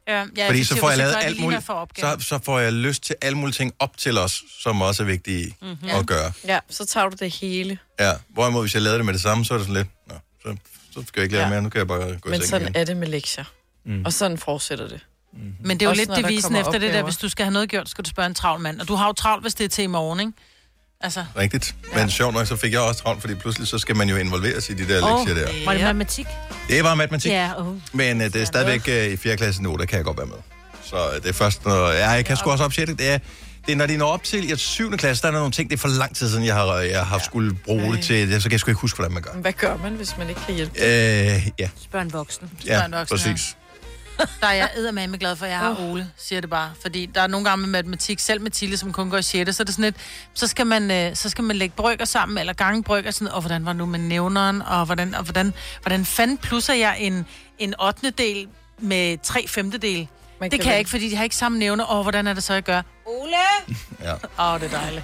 Øh, jeg er Fordi så effektiv, får jeg hvis lavet gør det alt lige, når muligt. jeg får Så, opgaven. så får jeg lyst til alle mulige ting op til os, som også er vigtige mm-hmm. Mhm. at gøre. Ja, så tager du det hele. Ja. Hvorimod, hvis jeg lavede det med det samme, så er det sådan lidt, nå, så, så skal jeg ikke lave ja. mere, nu kan jeg bare gå Men i seng igen. sådan er det med lektier. øh, Mm. Og sådan fortsætter det. Mm. Mhm. Men det er jo lidt devisen efter det der, hvis du skal have noget gjort, skal du spørge en travl mand. Og du har jo travlt, hvis det er til i morgen, ikke? Altså, Rigtigt. Men sjovt nok, så fik jeg også travlt, fordi pludselig så skal man jo involveres i de der Åh, lektier der. Var det matematik? Det var matematik. Ja, åh. Men øh, det er stadigvæk øh, i 4. klasse nu, der kan jeg godt være med. Så øh, det er først, når... Ja, jeg kan sgu også op til det. Det er, det er, når de når op til i 7. klasse, der er der nogle ting, det er for lang tid siden, jeg har, jeg har skulle bruge det til. Så kan jeg sgu ikke huske, hvordan man gør. Hvad gør man, hvis man ikke kan hjælpe? Øh, ja, Spørg en voksen. ja præcis. Der er jeg eddermame glad for, at jeg har Ole, siger det bare. Fordi der er nogle gange med matematik, selv med Tilde, som kun går i 6. Så er det sådan lidt, så skal man, øh, så skal man lægge brygger sammen, eller gange brygger, sådan, og hvordan var det nu med nævneren, og hvordan, og hvordan, hvordan fanden plusser jeg en, en 8. del med 3 femtedel? Man kan Det kan, kan vælge. jeg ikke, fordi de har ikke samme nævner. Og hvordan er det så, jeg gør? Ole! Ja. Åh, oh, det er dejligt.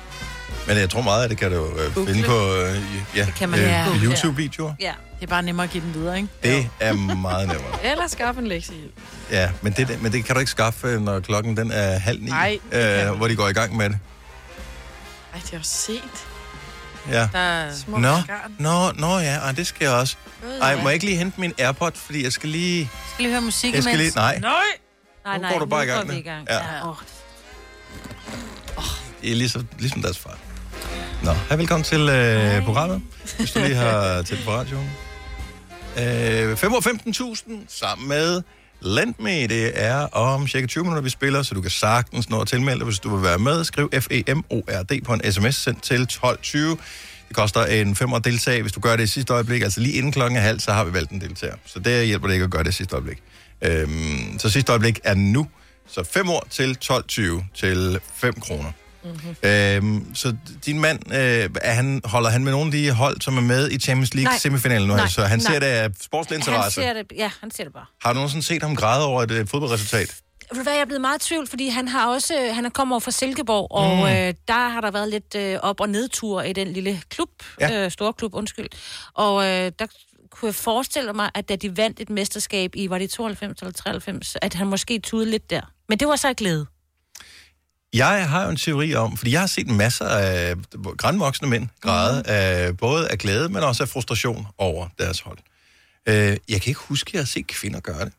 Men jeg tror meget af det kan du øh, finde på øh, i- ja, det kan man ja. øh, YouTube-videoer. Ja. Det er bare nemmere at give den videre, ikke? Det er meget nemmere. Eller skaffe en lektiehjælp. Ja, men det, men det kan du ikke skaffe, øh, når klokken den er halv ni, Nej, det kan øh, hvor de går i gang med det. Ej, det er også set. Ja. Der er små Nå, garn. nå, nå ja, ej, det skal jeg også. Gud, Ej, ja. må jeg ikke lige hente min Airpod, fordi jeg skal lige... Skal lige høre musik Jeg skal imens? lige- nej. Nej! Nej, Nu nej, går du bare i nu går gang vi nu. i gang. Ja. Ja. Åh, I er ligesom, ligesom deres far. Nå, hej, velkommen til øh, programmet, hvis du lige har tændt på radioen. Øh, 5 15.000 sammen med Lend Me. Det er om cirka 20 minutter, vi spiller, så du kan sagtens nå at tilmelde dig, hvis du vil være med. Skriv E FEMORD på en sms sendt til 1220. Det koster en femmer deltag. Hvis du gør det i sidste øjeblik, altså lige inden klokken er halv, så har vi valgt en deltager. Så det hjælper det ikke at gøre det i sidste øjeblik. Øhm, så sidste øjeblik er nu. Så 5 år til 12.20 til 5 kroner. Mhm. Øhm, så din mand, øh, er han, holder han med nogle af de hold, som er med i Champions League Nej. semifinalen nu? Nej. Så han Nej. ser det af sportslig Han interesse. ser det, ja, han ser det bare. Har du nogensinde set ham græde over et øh, fodboldresultat? Ved du hvad, jeg er blevet meget i tvivl, fordi han har også, øh, han er kommet over fra Silkeborg, og Mm. øh, der har der været lidt øh, op- og nedtur i den lille klub, Ja. ja. øh, store klub, undskyld. Og øh, der kunne jeg forestille mig, at da de vandt et mesterskab i, var det i 92 eller 93, at han måske tudede lidt der. Men det var så af glæde. Jeg har jo en teori om, fordi jeg har set masser af grandvoksne mænd græde, af, både af glæde, men også af frustration over deres hold. Øh, jeg kan ikke huske, at jeg har set kvinder gøre det.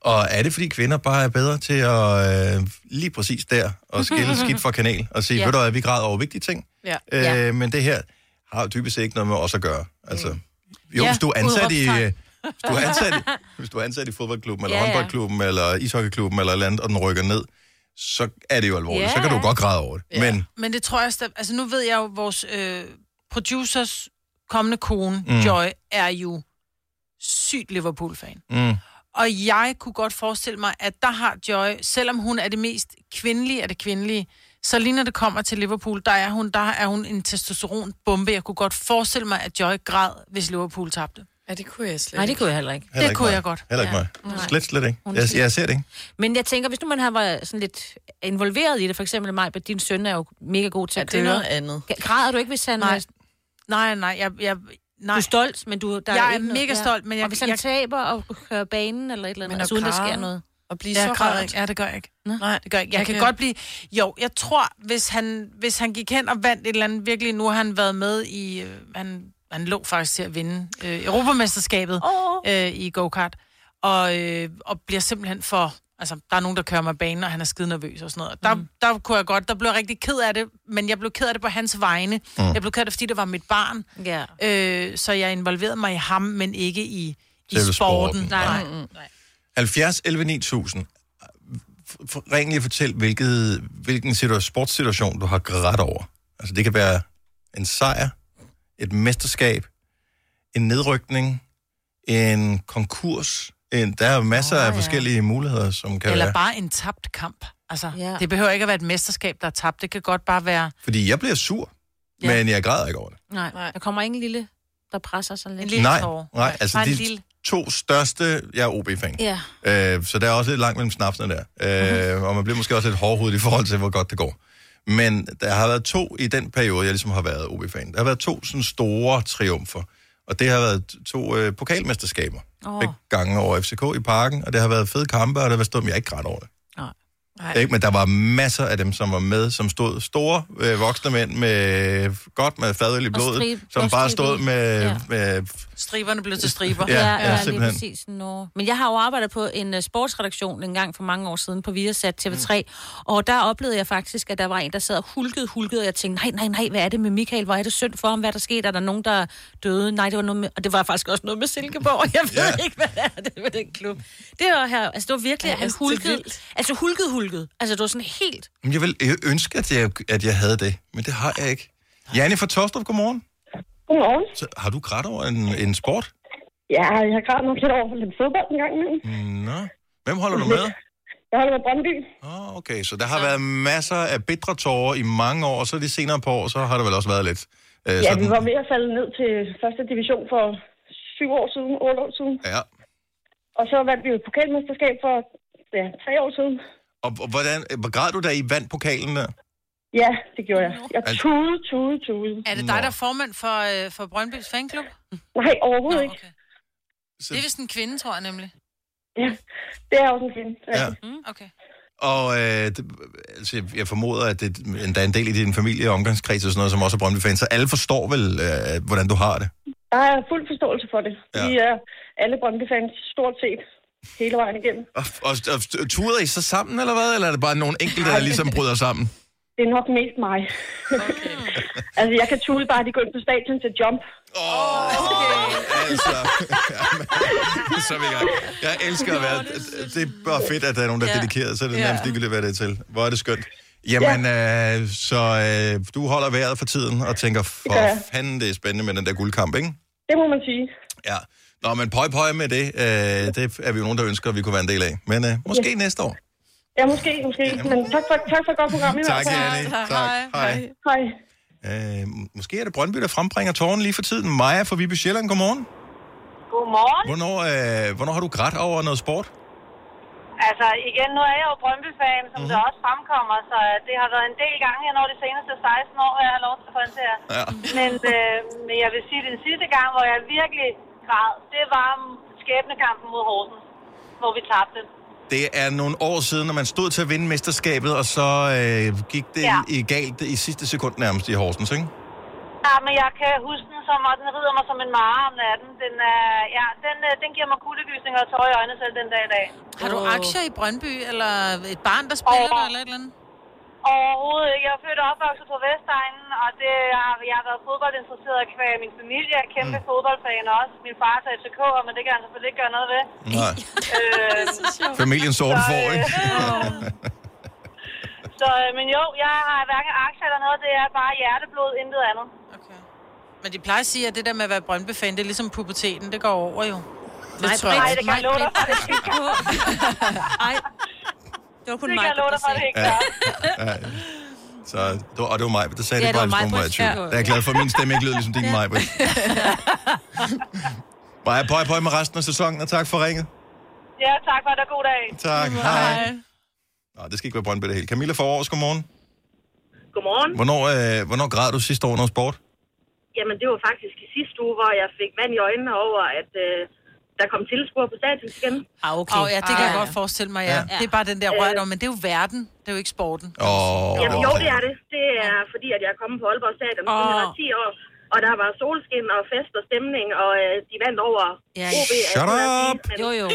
Og er det, fordi kvinder bare er bedre til at øh, lige præcis der og skille skidt fra kanal og sige, Ja. ja. ved du hvad, vi græder over vigtige ting, Ja. Øh, Men det her har jo dybest set ikke noget med os at gøre. Altså, jo, Ja, hvis du er ansat i... udråbstegn. øh, Hvis du, er ansat, i- hvis du er ansat i fodboldklubben, eller Ja, ja, ja. håndboldklubben, eller ishockeyklubben, eller et eller andet, og den rykker ned, så er det jo alvorligt. Ja. Så kan du godt græde over det. Men Men det tror jeg stadig... Altså, nu ved jeg jo, vores øh, producers kommende kone, Mm. mm. Joy, er jo sygt Liverpool-fan. mm, Og jeg kunne godt forestille mig, at der har Joy, selvom hun er det mest kvindelige af det kvindelige, så lige når det kommer til Liverpool, der er hun, der er hun en testosteronbombe. Jeg kunne godt forestille mig, at Joy græd, hvis Liverpool tabte. Ja, det kunne jeg slet Nej, det kunne jeg heller ikke. Heller det ikke kunne mig. jeg godt. Heller ikke ja. mig. Nej. Slet, slet ikke. Hun er Jeg, slet- jeg ser det ikke. Men jeg tænker, hvis nu man har været sådan lidt involveret i det, for eksempel mig, men din søn er jo mega god til at det er køre. noget andet. G- Græder du ikke, hvis han... Nej. Nej, nej, jeg... jeg nej. Du er stolt, men du... Der Jeg er ikke mega stolt, men jeg- Og hvis han jeg- taber og kører banen eller et eller andet, Men altså, at uden der græde sker noget. og blive jeg så græder rørt. ikke. Ja, det gør jeg ikke. Nå. Nej, det gør jeg ikke. Jeg, Jeg kan kan- godt blive... Jo, jeg tror, hvis han, hvis han gik hen og vandt et eller andet, virkelig, nu har han været med i... Øh, han, han lå faktisk til at vinde øh, Europamesterskabet oh. øh, i go-kart, og, øh, og bliver simpelthen for... Altså, der er nogen, der kører mig banen, og han er skide nervøs og sådan noget. Der, mm. der kunne jeg godt... Der blev jeg rigtig ked af det, men jeg blev ked af det på hans vegne. Mm. Mm. Jeg blev ked af det, fordi det var mit barn. Ja. Øh, så jeg involverede mig i ham, men ikke i, i Selve sporten. sporten, Nej, nej. nej. 70 11 9000. F- f- Ring lige og fortæl, hvilket, hvilken situa- sportssituation du har grædt over. Altså det kan være en sejr, et mesterskab, en nedrykning, en konkurs. En, der er masser oh, af forskellige muligheder, som kan Eller være. bare en tabt kamp. Altså, ja. det behøver ikke at være et mesterskab, der er tabt. Det kan godt bare være... Fordi jeg bliver sur, ja. men jeg græder ikke over det. Nej, nej. Der kommer ingen lille, der presser sådan lidt. En nej, nej, altså de to største, jeg er OB-fan. Ja. Øh, så der er også lidt langt mellem snapsene der. Øh, Mhm. og man bliver måske også lidt hårdhovedet i forhold til, hvor godt det går. Men der har været to i den periode, jeg ligesom har været OB-fan. Der har været to sådan store triumfer. Og det har været to øh, pokalmesterskaber. Åh. Oh. Begge gange over FCK i parken. Og det har været fede kampe, og det har været stået, men jeg er ikke grædt over det. Nej. Ikke? Men der var masser af dem, som var med, som stod store øh, voksne mænd med godt med fadøl i Og blodet, strib- som og bare stribe. stod med, Ja. ja. med Striberne blev til striber. Ja, ja, ja, lige simpelthen. præcis. Nå. Men jeg har jo arbejdet på en uh, sportsredaktion en gang for mange år siden på Viasat TV3, mm. og der oplevede jeg faktisk, at der var en, der sad og hulkede, hulkede, og jeg tænkte, nej, nej, nej, hvad er det med Michael? Hvor er det synd for ham? Hvad er der sket? Er der nogen, der døde? Nej, det var noget med, og det var faktisk også noget med Silkeborg. Jeg ved Ja. ja. ikke, hvad det er det med den klub. Det var her, altså det var virkelig, Ja, ja, han altså, det er hulkede, vildt. altså hulkede, hulkede. Altså det var sådan helt, Jamen, Jeg vil jeg ønske, at jeg, at jeg havde det, men det har jeg ikke. Janne fra Tostrup, godmorgen. Godmorgen. Så, har du grædt over en, en sport? Ja, jeg har gravet nok lidt over lidt fodbold en gang imellem. Nå. Hvem holder du med? Jeg holder med Brøndby. Oh, okay, så der har været masser af bitre tårer i mange år, og så de senere på år, så har der vel også været lidt øh, Ja, vi var ved at falde ned til første division for syv år siden, otte år siden. Ja. Og så vandt vi jo et pokalmesterskab for ja, tre år siden. Og, og hvordan, øh, græd du da I vandt pokalen der? Ja, det gjorde jeg. Jeg Altså- tude, tude, tude. Er det dig, der er formand for, øh, for Brøndby's fanklub? Nej, overhovedet ikke. Det er vist en kvinde, tror jeg nemlig. Ja, det er også en film. Ja. Mm, okay. Og øh, det, altså, jeg formoder, at det, der er en del i din familie og omgangskreds og sådan noget, som også er Brøndby-fans, så alle forstår vel, øh, hvordan du har det. Der er fuld forståelse for det. Ja. Vi er alle Brøndby-fans stort set hele vejen igennem. Og, og, og tuder I så sammen, eller hvad? Eller er det bare nogle enkelte, der ligesom bryder sammen? Det er nok mest mig. Okay. altså, jeg kan tude bare, at de går ind på stadion til jump. Altså, jamen, så er vi i gang. Jeg elsker at være... Det er bare fedt, at der er nogen, der er Ja. dedikeret, så er det Ja. nærmest ligegyldigt, hvad det er til. Hvor er det skønt. Jamen, øh, så øh, du holder vejret for tiden og tænker, gør for jeg. fanden, det er spændende med den der guldkamp, ikke? Det må man sige. Ja. Nå, men pøj pøj med det. Øh, det er vi jo nogen, der ønsker, at vi kunne være en del af. Men øh, måske Ja. næste år. Ja, måske, måske. Men tak for, tak for et godt program. i hvert Tak, fald. Anne. Tak. Hej. Hej. Hej. Øh, måske er det Brøndby, der frembringer tårnen lige for tiden. Maja fra Vibe Sjælland, godmorgen. Godmorgen. Hvornår, øh, hvornår har du grædt over noget sport? Altså igen, nu er jeg jo Brøndby-fan, som mm-hmm. der også fremkommer, så det har været en del gange her over de seneste 16 år, jeg har lov til at få en til jer. Ja. Men, øh, men jeg vil sige, den sidste gang, hvor jeg virkelig græd, det var skæbnekampen mod Horsens, hvor vi tabte. Det er nogle år siden, når man stod til at vinde mesterskabet, og så øh, gik det Ja. ja. i galt i sidste sekund nærmest i Horsens, ikke? Ja, men jeg kan huske den som, og den rider mig som en mare om natten. Den, er, ja, den, øh, den giver mig kuldegysninger og tårer i øjnene selv den dag i dag. Har du aktier i Brøndby, eller et barn, der spiller dig, eller et eller andet? Overhovedet ikke. Jeg er født og opvokset på Vestegnen, og det har, jeg har været fodboldinteresseret kvæg min familie. Jeg er kæmpe mm. fodboldfan også. Min far er til FCK, men det kan han selvfølgelig ikke gøre noget ved. Nej. Nou, øh, Familien sorte så, får, øh, ikke? så, øh, men jo, jeg har hverken aktier eller noget. Det er bare hjerteblod, intet andet. Men de plejer at sige, at det der med at være Brøndby-fan, det er ligesom puberteten. Det går over jo. Nej, tror jeg nej, ikke. det kan jeg love dig for, det ikke gør. Ej, det var kun Det mig, kan jeg love dig for, det ikke Ja. gør. Ja. Så, det var, og det var mig, der sagde Ja, det, det bare, var hvis nogen mig, var i Britt. Ja. tvivl. Jeg er glad for, at min stemme ikke lød ligesom din, ja. Maja. Maja, pøj, pøj med resten af sæsonen, og tak for ringet. Ja, tak for det, og god dag. Tak, hej. Nå, det skal ikke være Brøndby det hele. Camilla Forårs, godmorgen. Godmorgen. Hvornår, øh, hvornår græd du sidste år noget sport? Jamen, det var faktisk i sidste uge, hvor jeg fik vand i øjnene over, at øh, der kom tilskuere på stadion igen. Ah, okay. Åh, ja, det kan jeg godt forestille mig, ja. Det er bare den der rørt om, men det er jo verden, det er jo ikke sporten. Åh, Oh, Jamen, jo, det er det. Det er fordi, at jeg er kommet på Aalborg Stadion, oh. jeg var 10 år, og der var solskin og fest og stemning, og øh, de vandt over altså, Ja, OB. Shut up! Jo, jo.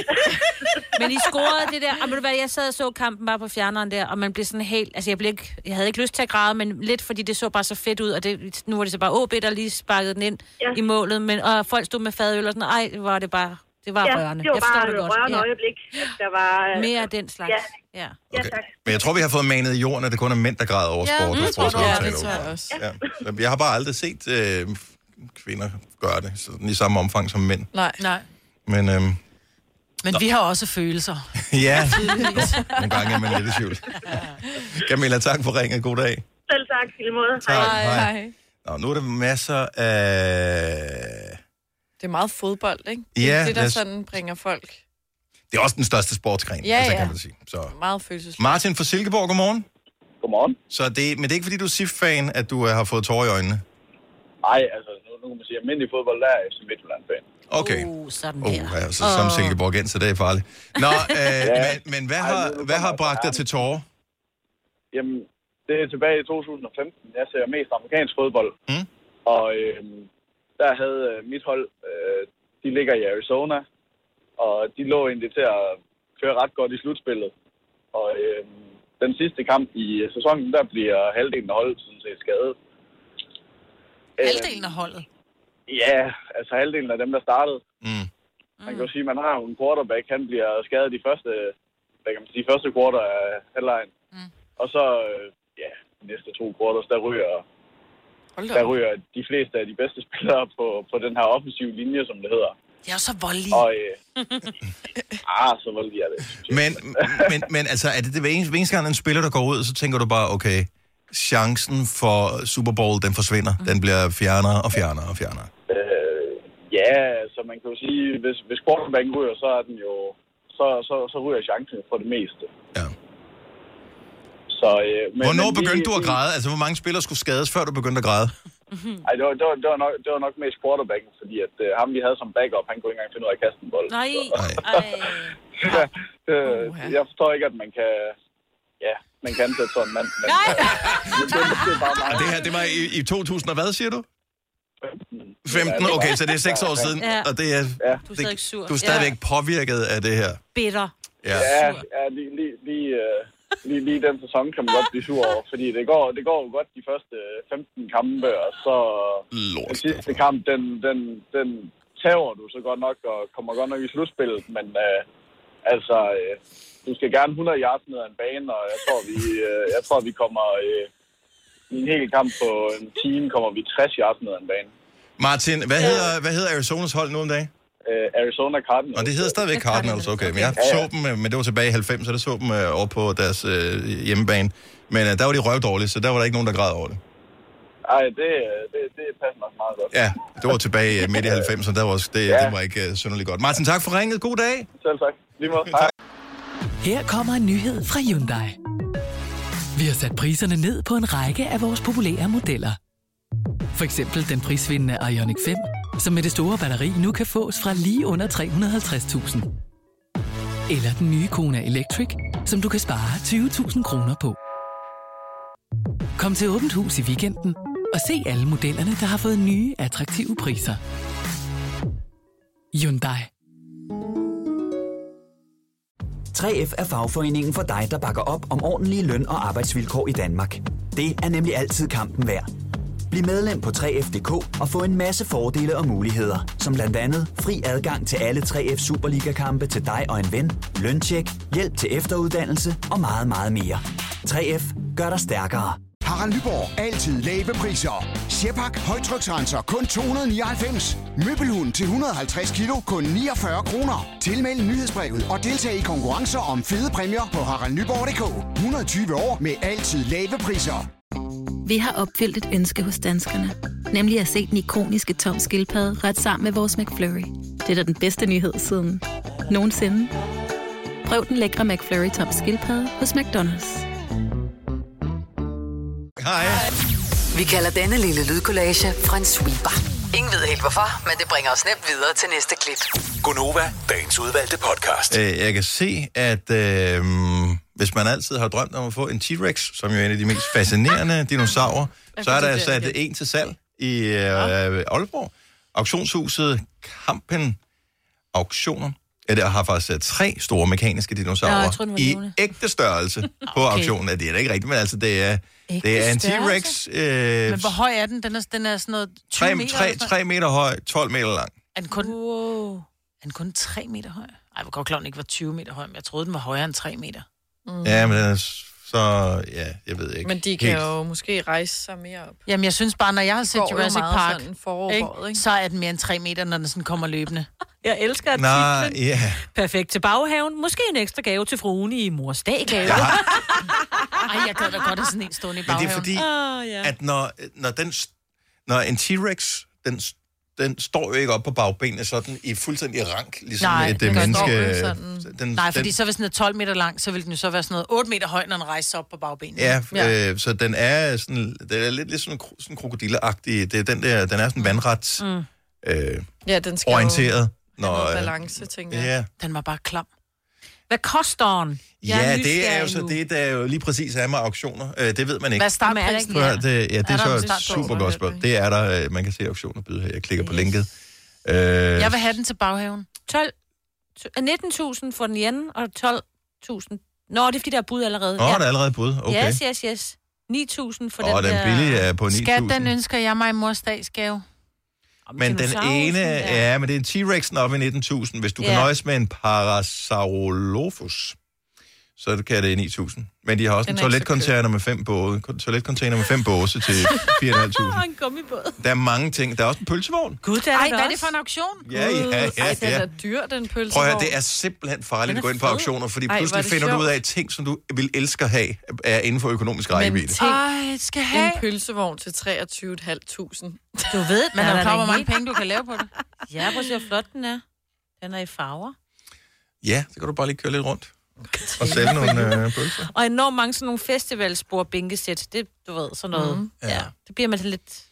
Men I scorede det der, og ved du hvad, jeg sad og så kampen bare på fjerneren der, og man blev sådan helt, altså jeg, blev ikke, jeg havde ikke lyst til at græde, men lidt fordi det så bare så fedt ud, og det, nu var det så bare OB, der lige sparkede den ind Ja. ja. i målet, men, og folk stod med fadøl og sådan, ej, hvor var det bare, det var ja, rørende. det var jeg forstår bare det godt. rørende øjeblik. at Der var, øh, Mere af den slags. Ja, ja. ja tak. Men jeg tror, vi har fået manet i jorden, at det kun er mænd, der græder over Ja, sport. mm, og tror du, sportsomtaler. ja, det tror jeg også. Ja. Så Jeg har bare aldrig set øh, kvinder gøre det sådan, i samme omfang som mænd. Nej. Nej. Men øhm, Men vi har også følelser. ja, Tydeligvis. nogle gange er man lidt i tvivl. Camilla, tak for ringet. God dag. Selv tak, i lige måde. Tak, hej. Nå, nu er der masser af... Det er meget fodbold, ikke? Det Ja, er det, lad der os- sådan bringer folk Det er også den største sportsgren, Ja, altså, ja. kan man sige. Så. meget følelsesløst. Martin fra Silkeborg, godmorgen. Godmorgen. Så det, men det er ikke, fordi du er SIF-fan, at du øh, har fået tårer i øjnene? Nej, altså, nu, nu kan man sige, at almindelig fodbold, der er jeg som Midtjylland-fan. Okay. Uh, sådan Oh, ja, så som Åh. Silkeborg så det er farligt. Nå, øh, Ja. men, men hvad, har, hvad har bragt dig til tårer? Jamen, det er tilbage i 2015. Jeg ser mest amerikansk fodbold. Mm. Og øh, der havde øh, mit hold, øh, de ligger i Arizona, og de lå egentlig til at køre ret godt i slutspillet. Og øh, den sidste kamp i øh, sæsonen, der bliver halvdelen af holdet sådan set skadet. Øh, Halvdelen af holdet. Ja, altså halvdelen af dem, der startede. Mm. Man kan jo sige, at man har jo en quarterback, han bliver skadet de første, hvad kan man sige, første quarter af halvlejen. Mm. Og så, øh, ja, de næste to quarters, der ryger, der ryger de fleste af de bedste spillere på, på den her offensive linje, som det hedder. Jeg er så voldelig. Og, øh, ah, så voldelig er det. Men, men, men altså, er det det hver eneste, hver eneste gang, en spiller, der går ud, så tænker du bare, okay, chancen for Super Bowl, den forsvinder. Den bliver fjernere og fjernere og fjernere. Øh, ja, så man kan jo sige, hvis, hvis quarterbacken ryger, så er den jo, så, så, så ryger chancen for det meste. Ja. Så, øh, men, Hvornår men lige- begyndte du at lige- græde? Altså, hvor mange spillere skulle skades, før du begyndte at græde? Ej, det var, det, var, det, var nok, det var nok mest quarterbacken, fordi at, øh, ham, vi havde som backup, han kunne ikke engang finde ud af at kaste en bold. Nej. Ja, det, jeg forstår ikke, at man kan... Ja, man kan ansætte sådan en mand. Men, Nej! Men, det, det er bare mig. Og det her, det var i, i 2000 og hvad, siger du? 15, okay, så det er 6 år siden, Ja. og det er, Du er det, stadig sur. du er stadigvæk påvirket af det her. Bitter. Ja. Ja, ja lige, lige, lige, øh, lige, lige den sæson kan man godt blive sur over, fordi det går, det går jo godt de første øh, 15 kampe, og så Lort, den sidste kamp, den, den, den tager du så godt nok, og kommer godt nok i slutspillet, men øh, altså, øh, du skal gerne 100 yards ned ad en bane, og jeg tror, vi, øh, jeg tror, vi kommer øh, i en hel kamp på en time, kommer vi 60 yards ned ad en bane. Martin, hvad hedder, hvad hedder Arizonas hold nu om dagen? Øh, Arizona Cardinals. Og det hedder stadigvæk Cardinals, Altså, okay. Men jeg Ja, så ja. dem, øh, men det var tilbage i 90'erne, der så dem øh, over på deres øh, hjemmebane. Men øh, der var de røvdårlige, så der var der ikke nogen, der græd over det. Ej, det, øh, det, det passer nok meget godt. Ja, det var tilbage øh, midt i 90'erne, der var også, det, Ja. det var ikke øh, synderligt godt. Martin, tak for ringet. God dag. Selv tak. Lige måde. Hej. Her kommer en nyhed fra Hyundai. Vi har sat priserne ned på en række af vores populære modeller. For eksempel den prisvindende Ioniq 5, som med det store batteri nu kan fås fra lige under 350.000. Eller den nye Kona Electric, som du kan spare 20.000 kroner på. Kom til Åbent Hus i weekenden og se alle modellerne, der har fået nye, attraktive priser. Hyundai. 3F er fagforeningen for dig, der bakker op om ordentlige løn- og arbejdsvilkår i Danmark. Det er nemlig altid kampen værd. Bliv medlem på 3F.dk og få en masse fordele og muligheder, som blandt andet fri adgang til alle 3F Superliga-kampe til dig og en ven, løntjek, hjælp til efteruddannelse og meget, meget mere. 3F gør dig stærkere. Harald Nyborg. Altid lave priser. Sjehpak højtryksrenser kun 299. Møbelhund til 150 kilo kun 49 kroner. Tilmeld nyhedsbrevet og deltag i konkurrencer om fede præmier på haraldnyborg.dk. 120 år med altid lave priser. Vi har opfyldt et ønske hos danskerne. Nemlig at se den ikoniske tom skildpadde ret sammen med vores McFlurry. Det er da den bedste nyhed siden nogensinde. Prøv den lækre McFlurry tom skildpadde hos McDonald's. Hej. Vi kalder denne lille lydkollage en sweeper. Ingen ved helt hvorfor, men det bringer os nemt videre til næste klip. Gunova, dagens udvalgte podcast. Øh, jeg kan se, at øh, hvis man altid har drømt om at få en T-Rex, som jo er en af de mest fascinerende dinosaurer, så er der sat en til salg i øh, Aalborg. Auktionshuset Kampen Auktioner. Ja, der har faktisk øh, tre store mekaniske Nå, dinosaurer jeg troede, den var i levende. ægte størrelse på Okay. auktionen. Ja, det er da ikke rigtigt, men altså, det er, Ægte det er en T-Rex. størrelse? Øh, Men hvor høj er den? Den er, den er sådan noget 20 3, meter? 3, eller sådan 3 meter høj, 12 meter lang. noget? Er den kun, wow. er den kun 3 meter høj? Ej, hvor godt klar, den ikke var 20 meter høj, men jeg troede, den var højere end 3 meter. Mm. Ja, men den er s- så... Ja, jeg ved ikke. Men de kan helt. jo måske rejse sig mere op. Jamen, jeg synes bare, når jeg har set Går jo Jurassic meget Park, sådan forår ikke, på året, ikke? så er den mere end 3 meter, når den sådan kommer løbende. Jeg elsker Nå, artiklen. ja. Perfekt til baghaven. Måske en ekstra gave til fruen i mors daggave. Ja. Ej, jeg gad da godt have sådan en stående i Men baghaven. det er fordi, Åh, ja. at når, når, den, st- når en T-Rex, den, st- den står jo ikke op på bagbenene sådan i fuldstændig rank, ligesom Nej, et den øh, står menneske... jo sådan- Den, Nej, fordi den, så hvis den er 12 meter lang, så vil den jo så være sådan noget 8 meter høj, når den rejser sig op på bagbenene. Ja, øh, så den er, sådan, den er lidt, lidt sådan, kro- sådan krokodilleagtig. Det er den, der, den er sådan vandret Mm. øh, Ja, den skal orienteret. jo have noget øh, balance, tænker jeg. ja. Den var bare klam. Hvad koster den? Ja, det er jo så det, der jo lige præcis er med auktioner. Øh, det ved man ikke. Hvad startprisen Prøv at høre, er? det, Er ja, det er, der en så et start på, super godt spørgsmål. Det er der, øh, man kan se auktioner byde her. Jeg klikker på linket. Øh, Jeg vil have den til baghaven. 12, t- 19.000 for den ene, og 12.000. Nå, det er fordi, der er bud allerede. Nå, der er allerede bud. Okay. Yes, yes, yes. 9.000 for Åh, den, den der... billige er på Skat, 9.000. den ønsker jeg mig i mors dagsgave. Men den Dinosaurusen ene, der. ja, men det er en T-Rex'en oppe i 19.000. Hvis du kan Ja. nøjes med en Parasaurolophus, så kan det 9.000. Men de har også Den er ikke så en toiletcontainer med fem båse, toiletcontainer med fem båse til 4.500. Og en gummibåd. Der er mange ting. Der er også en pølsevogn. Gud, der er Ej, der hvad er det også. for en auktion? Ja, ja, ja, Ej, den ja. er dyr, den pølsevogn. Prøv at høre, det er simpelthen farligt Den er at gå ind på fed. auktioner, fordi Ej, hvor er pludselig det finder du sjovt. ud af, at ting, som du vil elske at have, er inden for økonomisk rækkevidde. Ej, skal have... En pølsevogn til 23.500. Du ved, Man den er da klar, hvor mange helt- penge du kan lave på det. Ja, prøv at se, hvor flot den er. Den er i farver. Ja, så kan du bare lige køre lidt rundt og sælge nogle øh, pølser. Og enormt mange sådan nogle festivalspor binkesæt. Det, du ved, sådan noget. Mm. Ja. Det bliver man lidt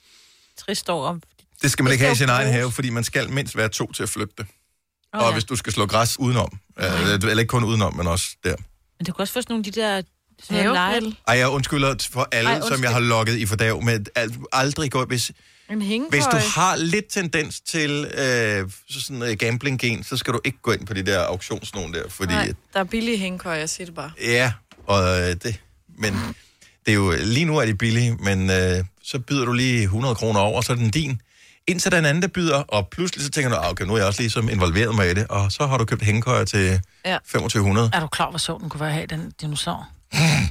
trist over. Det skal man ikke have i sin egen bruges. have, fordi man skal mindst være to til at flytte det. Åh, Oh, og ja. hvis du skal slå græs udenom, øh, eller ikke kun udenom, men også der. Men du kan også få sådan nogle af de der... Sådan noget Havepille. lege- Ej, jeg undskylder t- for alle, Ej, Ej, undskyld. som jeg har lokket i fordav med alt, aldrig gå. Hvis, En hængekøj. hvis du har lidt tendens til øh, så sådan øh, gambling-gen, så skal du ikke gå ind på de der auktionsnogen der, fordi... Nej, der er billige hængekøj, jeg siger det bare. Ja, og øh, det... Men det er jo... Lige nu er de billige, men øh, så byder du lige 100 kroner over, så er den din. Indtil der er en anden, der byder, og pludselig så tænker du, "Ah, okay, nu er jeg også ligesom involveret mig i det, og så har du købt hængekøjer til Ja. 2500. Er du klar, hvor sjov den kunne være at have, den dinosaur?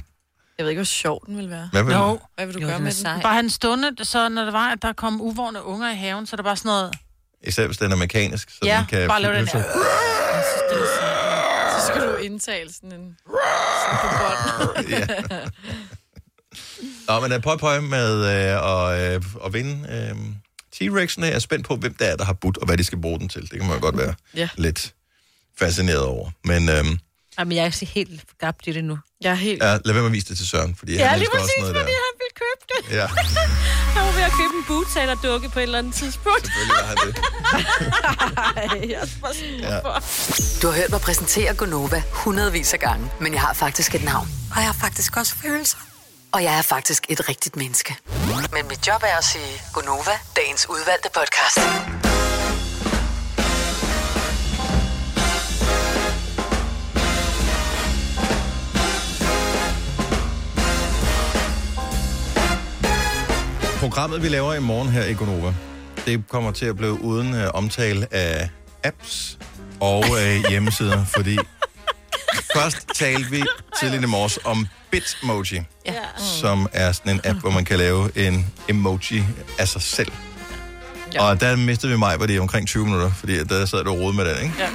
Jeg ved ikke, hvor sjov den vil være. Hvad vil- Jo. Hvad vil du Jo, gøre den er med den? sej. Bare han stående, så når der var, at der kom uvorne unger i haven, så er der bare sådan noget... Især hvis den er mekanisk, så Ja, den kan... bare lav den så- Så skal du indtale sådan en... Sådan på bånd. Ja. Nå, men øh, pøj pøj med øh, og, øh, at vinde øh, T-Rex'ene. Jeg er spændt på, hvem der er, der har budt, og hvad de skal bruge den til. Det kan man jo godt være Ja. lidt fascineret over. Men øh, Jamen, jeg er ikke helt gabt i det nu. Jeg er helt... ja, lad være med at vise det til Søren, fordi Ja, han lige elsker også præcis, noget fordi der. han ville købe det. Ja. han var ved at købe en butaler-dukke på et eller andet tidspunkt. Selvfølgelig var han det. Ej, jeg er bare sådan, hvorfor? Du har hørt mig præsentere Gonova hundredvis af gange, men jeg har faktisk et navn. Og jeg har faktisk også følelser. Og jeg er faktisk et rigtigt menneske. Men mit job er at sige Gonova, dagens udvalgte podcast. Programmet, vi laver i morgen her i Gonova, det kommer til at blive uden øh, omtale af apps og øh, hjemmesider, fordi Først talte vi tidligere i morges om Bitmoji, ja. som er sådan en app, hvor man kan lave en emoji af sig selv. Ja. Og der mistede vi mig på det omkring 20 minutter, fordi at der sad du og rode med den, ikke? Ja.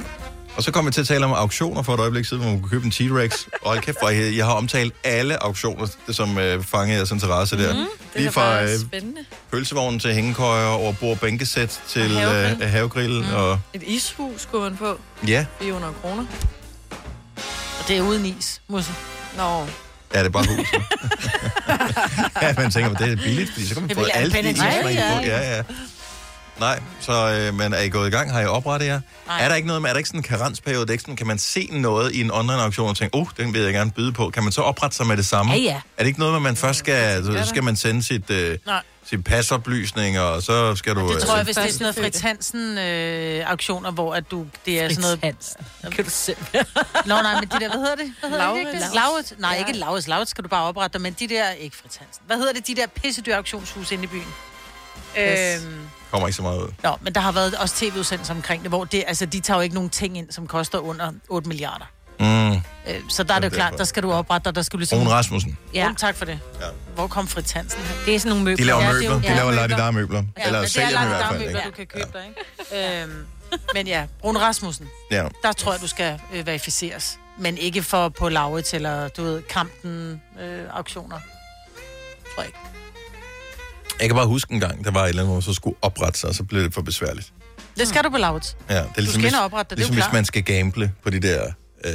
Og så kom vi til at tale om auktioner for et øjeblik siden, hvor man kunne købe en T-Rex. Og hold kæft, hvor jeg, jeg har omtalt alle auktioner, det som øh, fangede jeres interesse der. Mm, Mhm. Det er Lige da fra bare øh, spændende. pølsevognen til hængekøjer, over bord bænkesæt til Og havegrill, havegrill. øh, havegrill mm. og Et ishus kunne man få. ja, 400 kroner. Og det er uden is, Musse. Nå. Ja, det er bare huset. ja, man tænker, at det er billigt, fordi så kan man Det få ville alle de være ting, man Benedict. kan få. Ja, ja. Nej, så øh, men er I gået i gang? Har I oprettet jer? Nej. Er der ikke noget med, er der ikke sådan en karensperiode? Det er ikke sådan, kan man se noget i en online-auktion og tænke, uh, den vil jeg gerne byde på. Kan man så oprette sig med det samme? Ja, ja. Er det ikke noget med, man først skal, så der. skal man sende sit, øh, Nej. sit pasoplysninger, og så skal du... Det tror jeg, hvis det er øh, sådan noget Fritz Hansen øh, auktioner, hvor at du, det er sådan noget... Hansen. Kan du selv? Nå, nej, men de der, hvad hedder det? Hvad hedder det? Lauritz. Lauritz. Lauritz. Nej, Ja. ikke Lauritz. Lauritz skal du bare oprette dig, men de der, ikke Fritz Hansen. Hvad hedder det, de der pissedyr auktionshus inde i byen? Yes. Øhm, kommer ikke så meget ud. Nå, men der har været også tv-udsendelser omkring det, hvor det, altså, de tager jo ikke nogen ting ind, som koster under 8 milliarder. Mm. Øh, så der er det jo klart, Jamen, derfor. der skal du oprette dig, der skal du Rune Rasmussen. Ja. Rune, tak for det. Ja. Hvor kom Fritz Hansen? Det er sådan nogle møbler. De laver Ja, det er møbler. jo- De ja, laver møbler. ladidar-møbler. Ja, Eller men det er sælger dem i hvert fald. ladidar-møbler, ikke? du kan købe dig, ikke? Øhm, men ja, Rune Rasmussen, Ja. der tror jeg, du skal øh, verificeres. Men ikke for på Laurits eller, du ved, kampen øh, auktioner. Tror jeg ikke. Jeg kan bare huske en gang, der var et eller andet, hvor man så skulle oprette sig, og så blev det for besværligt. Det skal du på Laurits. Ja, det er ligesom, skal hvis, ind og oprette dig, det er jo ligesom hvis klart. man skal gamble på de der, øh,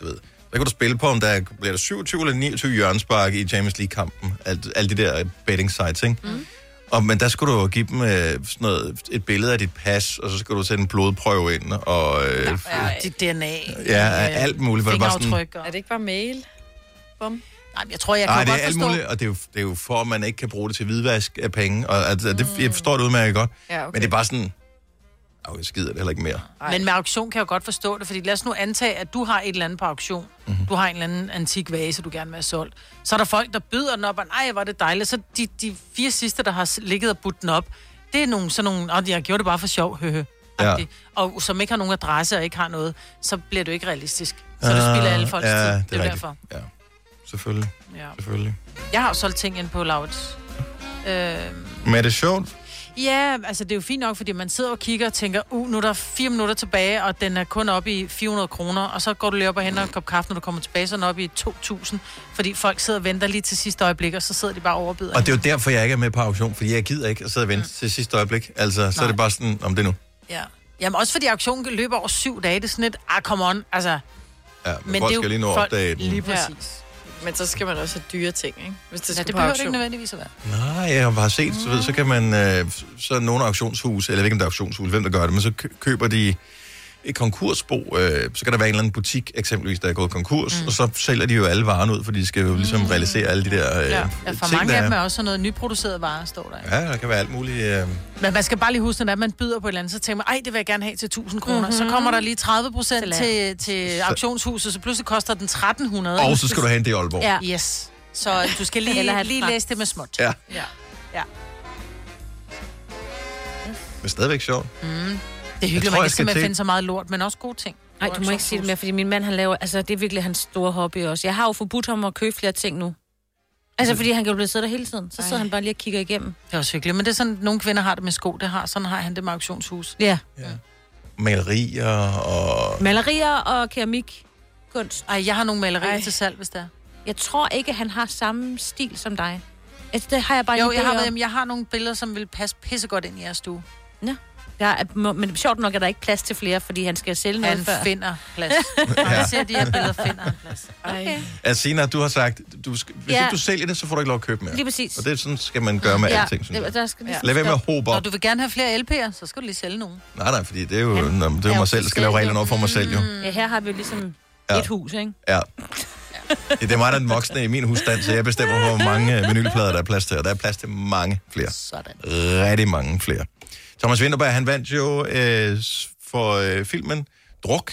du ved. Der kan du spille på, om der bliver der 27 eller 29 hjørnspark i Champions League-kampen. Alt, alle de der øh, betting sites, ikke? Mm. Og, men der skulle du jo give dem øh, sådan noget, et billede af dit pas, og så skulle du sætte en blodprøve ind, og øh, ja, Ja, dit DNA. ja, alt muligt. Var det bare sådan, Er det ikke bare mail? Bum. Nej, men jeg tror, jeg kan jo Nej, det godt er alt forstå... muligt, og det er, jo, det er jo for, at man ikke kan bruge det til hvidvask af penge. Og, altså, det, jeg forstår det udmærket godt, Mm. Ja, okay. men det er bare sådan, "Au, jeg skider det heller ikke mere. Ej. Men med auktion kan jeg jo godt forstå det, fordi lad os nu antage, at du har et eller andet på auktion. Mhm. Mm-hmm. Du har en eller anden antik vase, du gerne vil have solgt. Så er der folk, der byder den op, og nej, hvor er det dejligt. Så de, de fire sidste, der har s- ligget og budt den op, det er nogle sådan nogle, og jeg gjorde det bare for sjov, høhø. Ja. Ja. Og som ikke har nogen adresse og ikke har noget, så bliver du ikke realistisk. Så du spiller Ah, alle folks ja, tid. det er Det er, det rigtigt. er derfor. Selvfølgelig, Ja. selvfølgelig. Jeg har jo solgt ting ind på Lauts. Øh, Men er det sjovt? Ja, altså det er jo fint nok, fordi man sidder og kigger og tænker, uh, nu er der fire minutter tilbage, og den er kun oppe i 400 kroner, og så går du lige op og henter en kop kaffe, når du kommer tilbage, så er den oppe i 2.000, fordi folk sidder og venter lige til sidste øjeblik, og så sidder de bare og overbyder. Og det er jo derfor, jeg ikke er med på auktion, fordi jeg gider ikke at sidde og Mm. vente til sidste øjeblik. Altså, så er det bare sådan, om det er nu. Ja. Jamen også fordi auktionen løber over syv dage, det er sådan lidt, ah, come on, altså. Ja, men, men folk skal lige nå at opdage den. Lige præcis. Ja. Men så skal man også have dyre ting, ikke? Hvis det Ja, skal det på behøver det auktion. ikke nødvendigvis at være. Nej, jeg har set, så, ved, så kan man, øh, så er nogle auktionshus, eller jeg ved ikke, om det er auktionshus, hvem der gør det, men så kø- køber de et konkursbo, øh, så kan der være en eller anden butik, eksempelvis, der er gået konkurs, mm. og så sælger de jo alle varerne ud, for de skal jo ligesom realisere alle de der øh, Mm. Ja, ja. ja for ting, mange der af dem er. er også sådan noget nyproduceret varer, står der. Ja, der kan være alt muligt. Øh, Men man skal bare lige huske, når det er, man byder på et eller andet, så tænker man, ej, det vil jeg gerne have til 1000 kroner. Mm-hmm. Så Mhm. kommer der lige 30 procent til, til auktionshuset, så pludselig koster den 1300. og så skal du have en det i Aalborg. Ja. Yes. Så du skal Eller have lige, det lige frem. læse det med småt. Ja. Ja. ja. Men stadigvæk sjovt. Mm. Det er hyggeligt, tror, man jeg kan skal simpelthen til- finde så meget lort, men også gode ting. Nej, du må ikke sige det mere, fordi min mand, han laver, altså det er virkelig hans store hobby også. Jeg har jo forbudt ham at købe flere ting nu. Mm. Altså, fordi han kan jo blive siddet der hele tiden. Så sidder han bare lige og kigger igennem. Det er også hyggeligt, men det er sådan, nogle kvinder har det med sko, det har. Sådan har han det med auktionshus. Ja. Malerier og... Malerier og keramik. Kunst. Ej, jeg har nogle malerier Ej. til salg, hvis det er. Jeg tror ikke, han har samme stil som dig. Altså, det har jeg bare Jo, en idé jeg har, om. været, jamen, jeg har nogle billeder, som vil passe pissegodt ind i jeres stue. Nå. Der er, må- men sjovt nok er der ikke plads til flere, fordi han skal sælge noget Han før. finder plads. Når han ser de her billeder, finder han plads. Okay. Mm. Altså, Sina, du har sagt, du skal, hvis Ja. ikke du sælger det, så får du ikke lov at købe mere. Lige præcis. Og det er sådan, skal man gøre med ja. alting, synes jeg. Der skal vi- Lad være med at hobe Når op. du vil gerne have flere LP'er, så skal du lige sælge nogen. Nej, nej, fordi det er jo, ja. nå, men det er jo mig selv, der skal lave reglerne over for mig selv, jo. Ja, her har vi jo ligesom Ja. ja. et hus, ikke? Ja. Det er mig, der er den voksne i min husstand, så jeg bestemmer, hvor mange øh, vinylplader, der er plads til, og der er plads til mange flere. Sådan. Rigtig mange flere. Thomas Winterberg, han vandt jo øh, s- for øh, filmen Druk,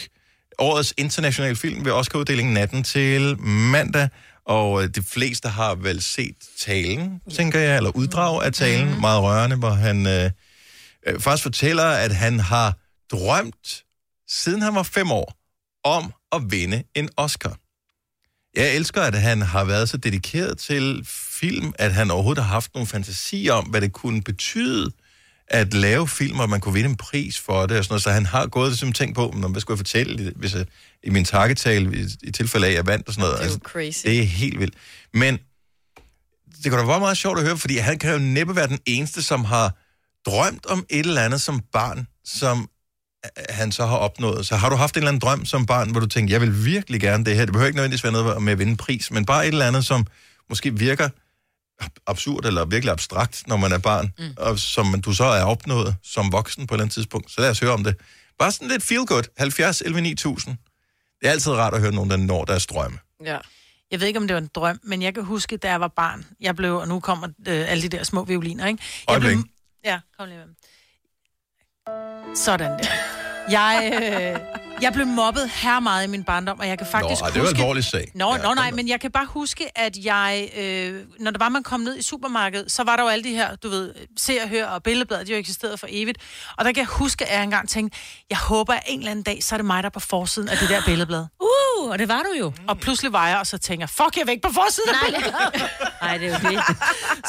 årets internationale film ved Oscar-uddelingen natten til mandag, og øh, de fleste har vel set talen, tænker jeg, eller uddrag af talen, meget rørende, hvor han øh, øh, faktisk fortæller, at han har drømt, siden han var fem år, om at vinde en Oscar. Jeg elsker, at han har været så dedikeret til film, at han overhovedet har haft nogle fantasier om, hvad det kunne betyde at lave film, og man kunne vinde en pris for det og sådan noget. Så han har gået og tænkt på, "Nå, hvad skulle jeg fortælle hvis jeg, i min takketale, i, i tilfælde af, at jeg vandt og sådan noget. Altså, Det er jo crazy. Det er helt vildt. Men det kunne da være meget sjovt at høre, fordi han kan jo næppe være den eneste, som har drømt om et eller andet som barn, som øh, han så har opnået. Så har du haft en eller anden drøm som barn, hvor du tænkte, jeg vil virkelig gerne det her. Det behøver ikke nødvendigvis være noget med at vinde en pris, men bare et eller andet, som måske virker ab- absurd eller virkelig abstrakt, når man er barn, mm. og som du så er opnået som voksen på et eller andet tidspunkt. Så lad os høre om det. Bare sådan lidt feel good. 70 11 9000. Det er altid rart at høre nogen, der når deres drømme. Ja. Jeg ved ikke, om det var en drøm, men jeg kan huske, da jeg var barn. Jeg blev, og nu kommer øh, alle de der små violiner, ikke? Jeg blev, Øjeblik. ja, kom lige med. dem. Sådan der. Jeg, øh, jeg blev mobbet her meget i min barndom, og jeg kan faktisk Nå, ej, huske... det er jo en alvorlig sag. Nå, ja, nå, nej, men jeg kan bare huske, at jeg, øh, når der var, man kom ned i supermarkedet, så var der jo alle de her, du ved, se og hør og billedbladet, de har jo eksisteret for evigt. Og der kan jeg huske, at jeg engang tænkte, jeg håber, at en eller anden dag, så er det mig, der er på forsiden af det der billedblad. Uh, og det var du jo. Og pludselig var jeg, og så tænker, fuck, jeg er væk på forsiden af Nej. billedet. Nej, det er jo det.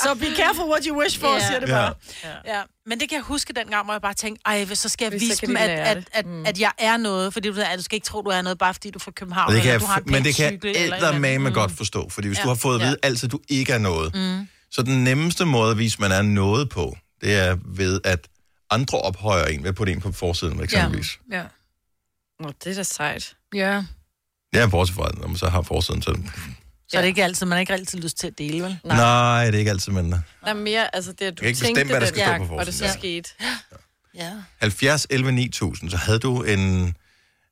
Så be careful what you wish for, Ja. yeah. siger det Ja. bare. Ja. Ja. Men det kan jeg huske dengang, hvor jeg bare tænkte, ej, hvis så skal jeg Fordi så vise kan dem, de at, lære at, det. at, at, jeg er noget. Fordi du, ved, at du skal ikke tro, du er noget, bare fordi du er fra København, Og det kan eller jeg, du har en f- men pæn det kan cykel, eller et eller andet. eddermame mm. godt forstå, fordi hvis ja. Ja. du har fået at vide altid, at du ikke er noget, mm. så den nemmeste måde at vise, man er noget på, det er ved, at andre ophøjer en ved at putte en på forsiden, eksempelvis. Ja. Nå, det er da sejt. Ja. Ja, bortset fra, når man så har forsiden til den. Så er det ikke altid, man har ikke altid lyst til at dele, vel? Nej. Nej, det er ikke altid, men Der er mere, altså det, at du kan ikke tænkte bestemme, hvad der skal den stå gang, på og det så forsiden. skete. Ja. 70, 11, 9000, så havde du en,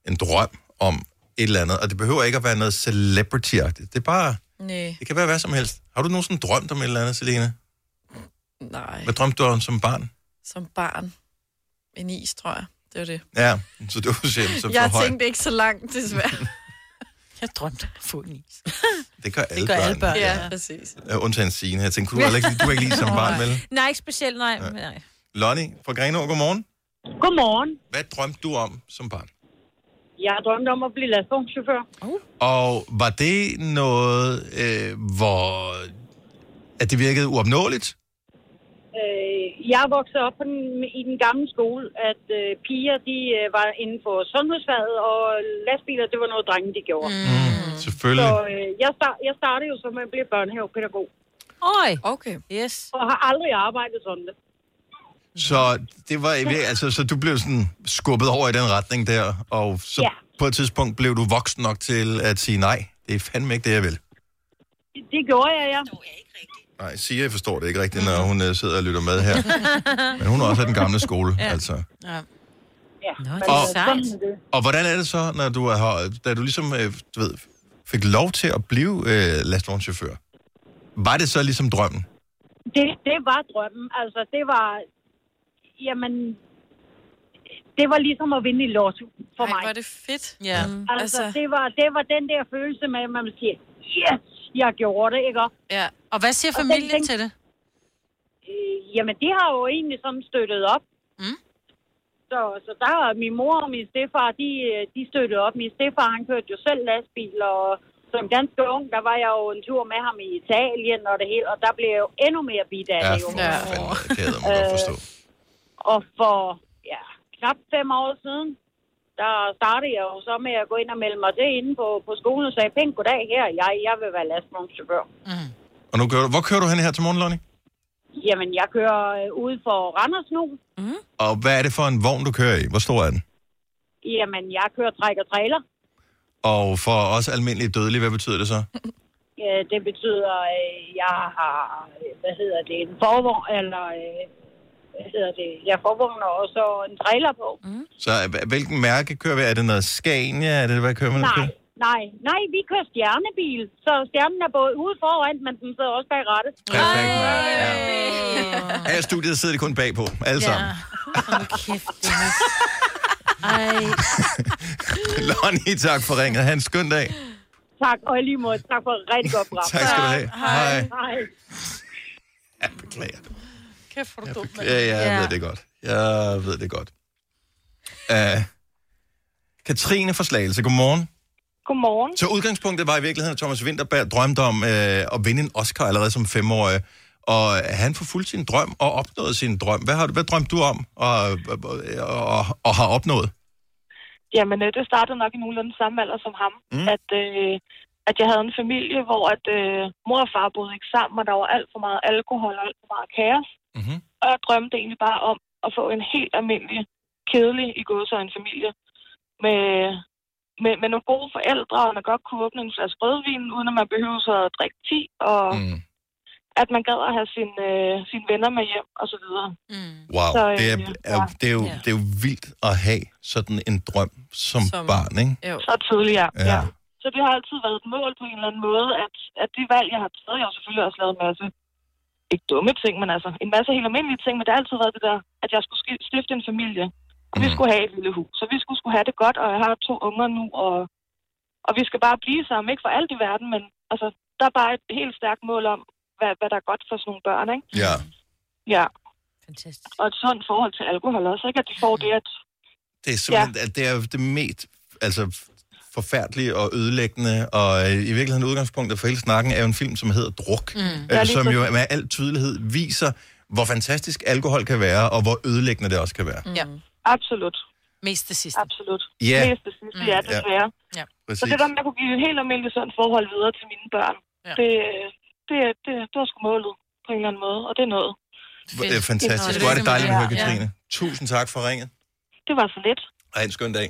en drøm om et eller andet, og det behøver ikke at være noget celebrity -agtigt. Det er bare, Nej. det kan være hvad som helst. Har du nogensinde drømt om et eller andet, Selene? Nej, Hvad drømte du om som barn? som barn. En is, tror jeg. Det var det. Ja, så du siger, så jeg for højt. tænkte ikke så langt, desværre. jeg drømte at få en is. Det gør alle, Det gør alle børn. Ja, ja. præcis. Ja, undtagen Signe. Jeg tænkte, du var ikke, du var ikke lige som barn, vel? Nej, ikke specielt, nej. men nej. Lonnie fra Grenå, godmorgen. Godmorgen. Hvad drømte du om som barn? Jeg drømte om at blive lastvognschauffør. Oh. Og var det noget, øh, hvor at det virkede uopnåeligt? Øh, jeg voksede op på den, i den gamle skole, at øh, piger de øh, var inden for sundhedsfaget, og lastbiler, det var noget drenge, de gjorde. Mm. Selvfølgelig. Så øh, jeg, start, jeg startede jo som at blive børnehavepædagog, Oj. Okay. Yes. og har aldrig arbejdet sådan. Så det var altså, så du blev sådan skubbet over i den retning der, og så Ja. på et tidspunkt blev du voksen nok til at sige nej. Det er fandme ikke det, jeg vil. Det, det gjorde jeg, ja. Nej, Sia forstår det ikke rigtigt, når hun øh, sidder og lytter med her. Men hun er også af den gamle skole, Ja. altså. Ja. ja. Nå, det er sejt. Og hvordan er det så, når du har, da du ligesom øh, du ved, fik lov til at blive øh, lastvognschauffør? Var det så ligesom drømmen? Det, det var drømmen. Altså, det var... Jamen... Det var ligesom at vinde i lotto for Ej, mig. hvor er det fedt. Ja. Mm, Altså, altså. altså... Det, var, det var den der følelse med, at man siger, yes, jeg gjorde det, ikke? også? Ja. Og hvad siger Og den familien ting- til det? Øh, jamen, de har jo egentlig sådan støttet op. Mm. Så, så der er min mor og min stefar, de, øh, de støttede op. Min stefar, han kørte jo selv lastbil, og som ganske ung, der var jeg jo en tur med ham i Italien og det hele, og der blev jeg jo endnu mere bidt af Ja, det. Jo. Øh, for fanden, det kan jeg da godt forstå. Og for ja, knap fem år siden, der startede jeg jo så med at gå ind og melde mig til inde på, på skolen og sagde, pænt goddag her, jeg, jeg vil være lastvognschauffør. Og nu kører du, hvor kører du hen her til morgen, Lonnie? Jamen, jeg kører øh, ude for Randers nu. Mm. Og hvad er det for en vogn, du kører i? Hvor stor er den? Jamen, jeg kører træk og trailer. Og for os almindelige dødelige, hvad betyder det så? Øh, Det betyder, øh, jeg har, øh, hvad hedder det, en forvogn, eller øh, hvad hedder det, jeg forvogner og så en trailer på. Mm. Så øh, hvilken mærke kører vi? Er det noget Scania? Er det, hvad kører man? Nej, nej, nej, vi kører stjernebil, så stjernen er både ude foran, men den sidder også bag rattet. Perfekt. Ja. Af studiet sidder de kun bagpå, alle Ja. sammen. Hold kæft, Dennis. Ej. Lonnie, tak for ringet. Ha' en skøn dag. Tak, og i lige måde, tak for et rigtig godt program. Tak skal du have. Hej. Hej. Ja, beklager. Kæft, hvor er du dum, mand. Ja, ja, jeg ved det godt. Jeg ved det godt. Uh, Katrine fra Slagelse, godmorgen. Godmorgen. Så udgangspunktet var i virkeligheden, at Thomas Winterberg drømte om øh, at vinde en Oscar allerede som femårig. Og han forfulgte sin drøm og opnåede sin drøm. Hvad, har, du- hvad drømte du om og, og, og, og har opnået? Jamen, øh, det startede nok i nogenlunde samme alder som ham. Mm. At, øh, at jeg havde en familie, hvor at, øh, mor og far boede ikke sammen, og der var alt for meget alkohol og alt for meget kaos. Mm-hmm. Og jeg drømte egentlig bare om at få en helt almindelig, kedelig i gået en familie. Med, med, med nogle gode forældre, og man godt kunne åbne en flaske rødvin, uden at man behøver så at drikke ti, og mm. at man gad at have sin, øh, sine venner med hjem, og så videre. Mm. Wow, så, det, er, ja. er, det, er jo, det er jo vildt at have sådan en drøm som, som barn, ikke? Jo. Så tidligt, ja. Ja. ja. Så det har altid været et mål på en eller anden måde, at, at det valg, jeg har taget, jeg har jo selvfølgelig også lavet en masse, ikke dumme ting, men altså en masse helt almindelige ting, men det har altid været det der, at jeg skulle ski- stifte en familie, og Mm. vi skulle have et lille hus, og vi skulle, skulle have det godt, og jeg har to unger nu, og, og vi skal bare blive sammen, ikke for alt i verden, men altså, der er bare et helt stærkt mål om, hvad, hvad der er godt for sådan nogle børn, ikke? Ja. Ja. Fantastisk. Mm. Og et sundt forhold til alkohol også, ikke? At de får det, at Det er simpelthen, ja. det er jo det mest altså, forfærdelige og ødelæggende, og øh, i virkeligheden udgangspunktet for hele snakken er jo en film, som hedder Druk, Mm. Ja, øh, lige som jo præcis. med al tydelighed viser, hvor fantastisk alkohol kan være, og hvor ødelæggende det også kan være. Ja. Absolut. Mest det sidste. Absolut. Ja. Mest det sidste, mm. ja, Ja. desværre. Ja. Så Præcis. det der med at kunne give et helt almindeligt sundt forhold videre til mine børn, ja. det, det, det, det var sgu målet på en eller anden måde, og det er noget. Hvor- Det er fantastisk. Hvor er det dejligt at høre, Katrine. Tusind tak for ringet, Det var så lidt. og have en skøn dag.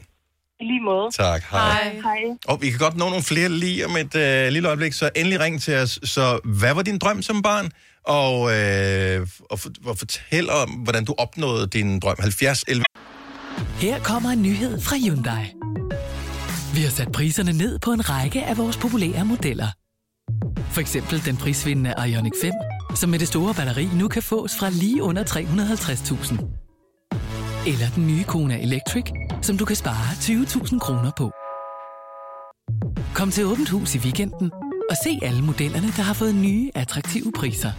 I lige måde. Tak, hej. Hej. Og vi kan godt nå nogle flere lige om et øh, lille øjeblik, så endelig ring til os. Så hvad var din drøm som barn? Og, øh, og, for, og fortæl om, hvordan du opnåede din drøm. 70 11 Her kommer en nyhed fra Hyundai. Vi har sat priserne ned på en række af vores populære modeller. For eksempel den prisvindende Ioniq 5, som med det store batteri nu kan fås fra lige under 350.000. Eller den nye Kona Electric, som du kan spare 20.000 kroner på. Kom til Åbent Hus i weekenden og se alle modellerne, der har fået nye, attraktive priser.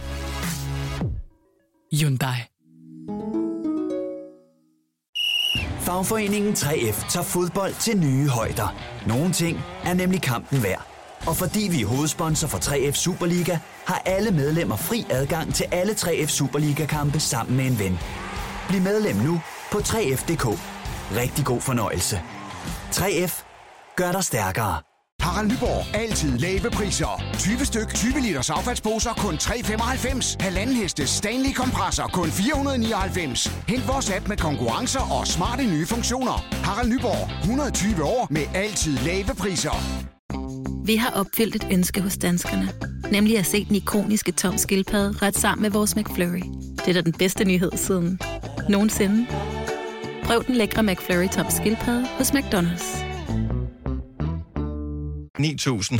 Hyundai. Fagforeningen 3F tager fodbold til nye højder. Nogle ting er nemlig kampen værd. Og fordi vi er hovedsponsor for 3F Superliga, har alle medlemmer fri adgang til alle 3F Superliga-kampe sammen med en ven. Bliv medlem nu på 3F.dk. Rigtig god fornøjelse. 3F gør dig stærkere. Harald Nyborg. Altid lave priser. 20 styk, 20 liters affaldsposer kun 3,95. Halvanden heste Stanley kompresser kun 499. Hent vores app med konkurrencer og smarte nye funktioner. Harald Nyborg. 120 år med altid lave priser. Vi har opfyldt et ønske hos danskerne. Nemlig at se den ikoniske tom skildpadde ret sammen med vores McFlurry. Det er da den bedste nyhed siden nogensinde. Prøv den lækre McFlurry tom skildpadde hos McDonald's. 9000.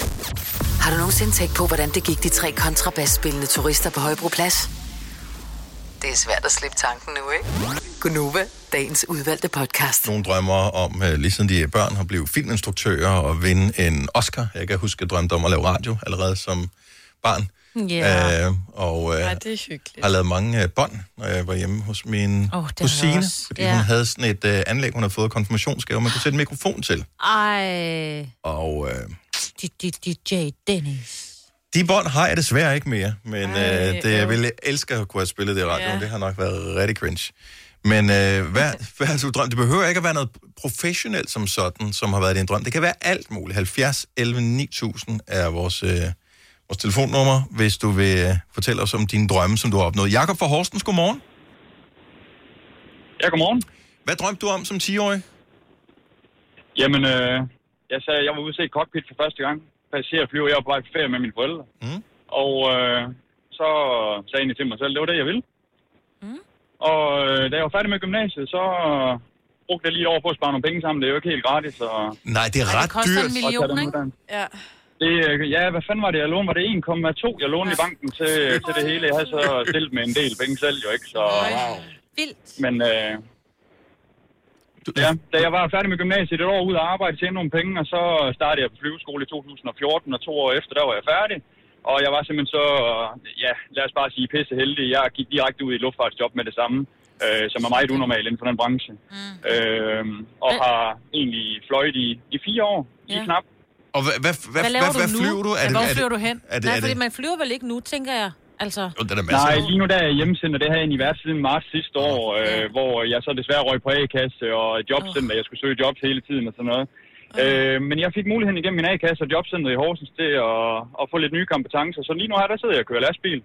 Har du nogensinde tænkt på, hvordan det gik de tre kontrabasspillende turister på Højbroplads? Det er svært at slippe tanken nu, ikke? Gunova, dagens udvalgte podcast. Nogle drømmer om, øh, lige siden de er børn, at blive filminstruktører og vinde en Oscar. Jeg kan huske, at jeg drømte om at lave radio allerede som barn. Ja. Øh, og øh, Ej, det er hyggeligt. har lavet mange øh, bånd, når jeg var hjemme hos min har oh, jeg kusine, også. fordi Ja. hun havde sådan et øh, anlæg, hun havde fået konfirmationsgave, man kunne sætte en mikrofon til. Ej, Og øh, DJ Dennis. de bånd har jeg desværre ikke mere, men Ej, øh, det, jeg øv. ville elske at kunne have spillet det i radioen. Ja. Det har nok været rigtig cringe. Men øh, hvad, hvad har du drømt? Det behøver ikke at være noget professionelt som sådan, som har været din drøm. Det kan være alt muligt. 70 11 9000 er vores, øh, vores telefonnummer, hvis du vil øh, fortælle os om dine drømme, som du har opnået. Jakob fra Horsens, godmorgen. Ja, godmorgen. Hvad drømte du om som 10-årig? Jamen, øh, jeg sagde, jeg var ude at se cockpit for første gang. Passager flyver, jeg var på vej på ferie med mine forældre. Mm. Og øh, så sagde jeg egentlig til mig selv, det var det, jeg ville. Mm. Og øh, da jeg var færdig med gymnasiet, så øh, brugte jeg lige et år på at spare nogle penge sammen. Det er jo ikke helt gratis. Og... Nej, det er ret dyrt. Ja. Det, øh, ja, hvad fanden var det, jeg lånte? Var det 1,2, jeg lånte ja. i banken til, øh, til det hele? Jeg havde så stillet med en del penge selv, jo ikke? Så, wow. Vildt. Men øh, ja, da jeg var færdig med gymnasiet, et år ud at arbejde, tjene nogle penge, og så startede jeg på flyveskole i 2014, og to år efter, der var jeg færdig. Og jeg var simpelthen så, øh, ja, lad os bare sige, pisse heldig. Jeg gik direkte ud i et luftfartsjob med det samme. øh, som er meget unormal inden for den branche. Mm. Øh, og har egentlig fløjet i, i fire år, ja. lige knap. Og hvad, hvad, hvad, Hvad laver du nu? Er Ja, det- hvor er det- flyver du hen? Er det, Nej, er fordi det, man flyver vel ikke nu, tænker jeg. Altså, Jo, den er masser. Nej, lige nu der er jeg hjemmesendt, og det har jeg egentlig været siden marts sidste år, øh, hvor jeg så desværre røg på A-kasse og jobcenter. Jeg skulle søge jobs hele tiden og sådan noget. Øh, men jeg fik muligheden igennem min A-kasse og jobcenter i Horsens til at, at få lidt nye kompetencer. Så lige nu her, der sidder jeg og kører lastbil.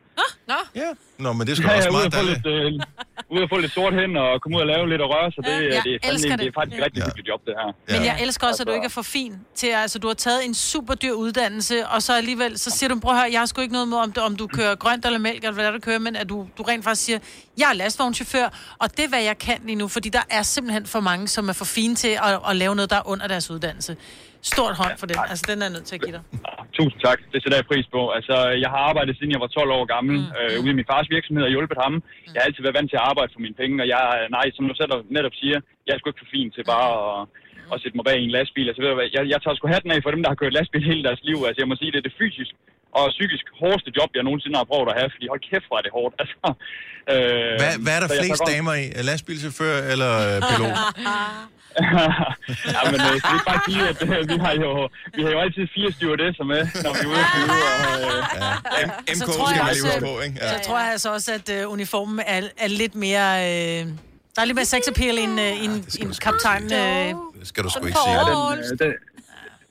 Nå. Ja. Nå, men det er sgu Ja, også jeg er ude meget at få dejligt. lidt, øh, ude at få lidt sort hen og komme ud og lave lidt og røre, så det, Ja, ja, jeg det, er, fandme, elsker det. det er det. faktisk et rigtig hyggeligt job, det her. Men jeg elsker også, at du ikke er for fin til, altså du har taget en super dyr uddannelse, og så alligevel, så siger du, prøv at høre, jeg har sgu ikke noget med, om du, om du kører grønt eller mælk, eller hvad det er, du kører, men at du, du rent faktisk siger, jeg er lastvognchauffør, og det er, hvad jeg kan lige nu, fordi der er simpelthen for mange, som er for fine til at, at lave noget, der er under deres uddannelse. Stort hånd for den, altså den er jeg nødt til at give dig. Tusind tak. Det sætter jeg pris på. Altså, jeg har arbejdet siden jeg var 12 år gammel mm. øh, ude i min fars virksomhed og hjulpet Mm. ham. Jeg har altid været vant til at arbejde for mine penge, og jeg, er- nej, som du selv netop siger, jeg er sgu ikke for fin til bare Mm. at, at sætte mig bag i en lastbil. Altså, ved du hvad, jeg, jeg tager sgu hatten af for dem, der har kørt lastbil hele deres liv. Altså, jeg må sige, det er det fysisk og psykisk hårdeste job, jeg nogensinde har prøvet at have, fordi hold kæft, hvor er det hårdt. Altså, øh, Hvad, hvad er der så jeg tager flest godt- damer i? Lastbilchauffør eller øh, pilot? Ja, men øh, det er faktisk lige, at øh, vi, har jo, vi har jo altid fire stewardesser med, når vi er ude at flyve. Og, øh, ja. MK Så tror skal jeg man lige også, huske på, ikke? Ja. Så tror jeg altså også, at øh, uniformen er, er lidt mere... Øh, der er lidt mere sex appeal end, øh, end, ja, end kaptajn... Øh, Det skal du sgu ikke ikke sige. Ja, den, øh, den,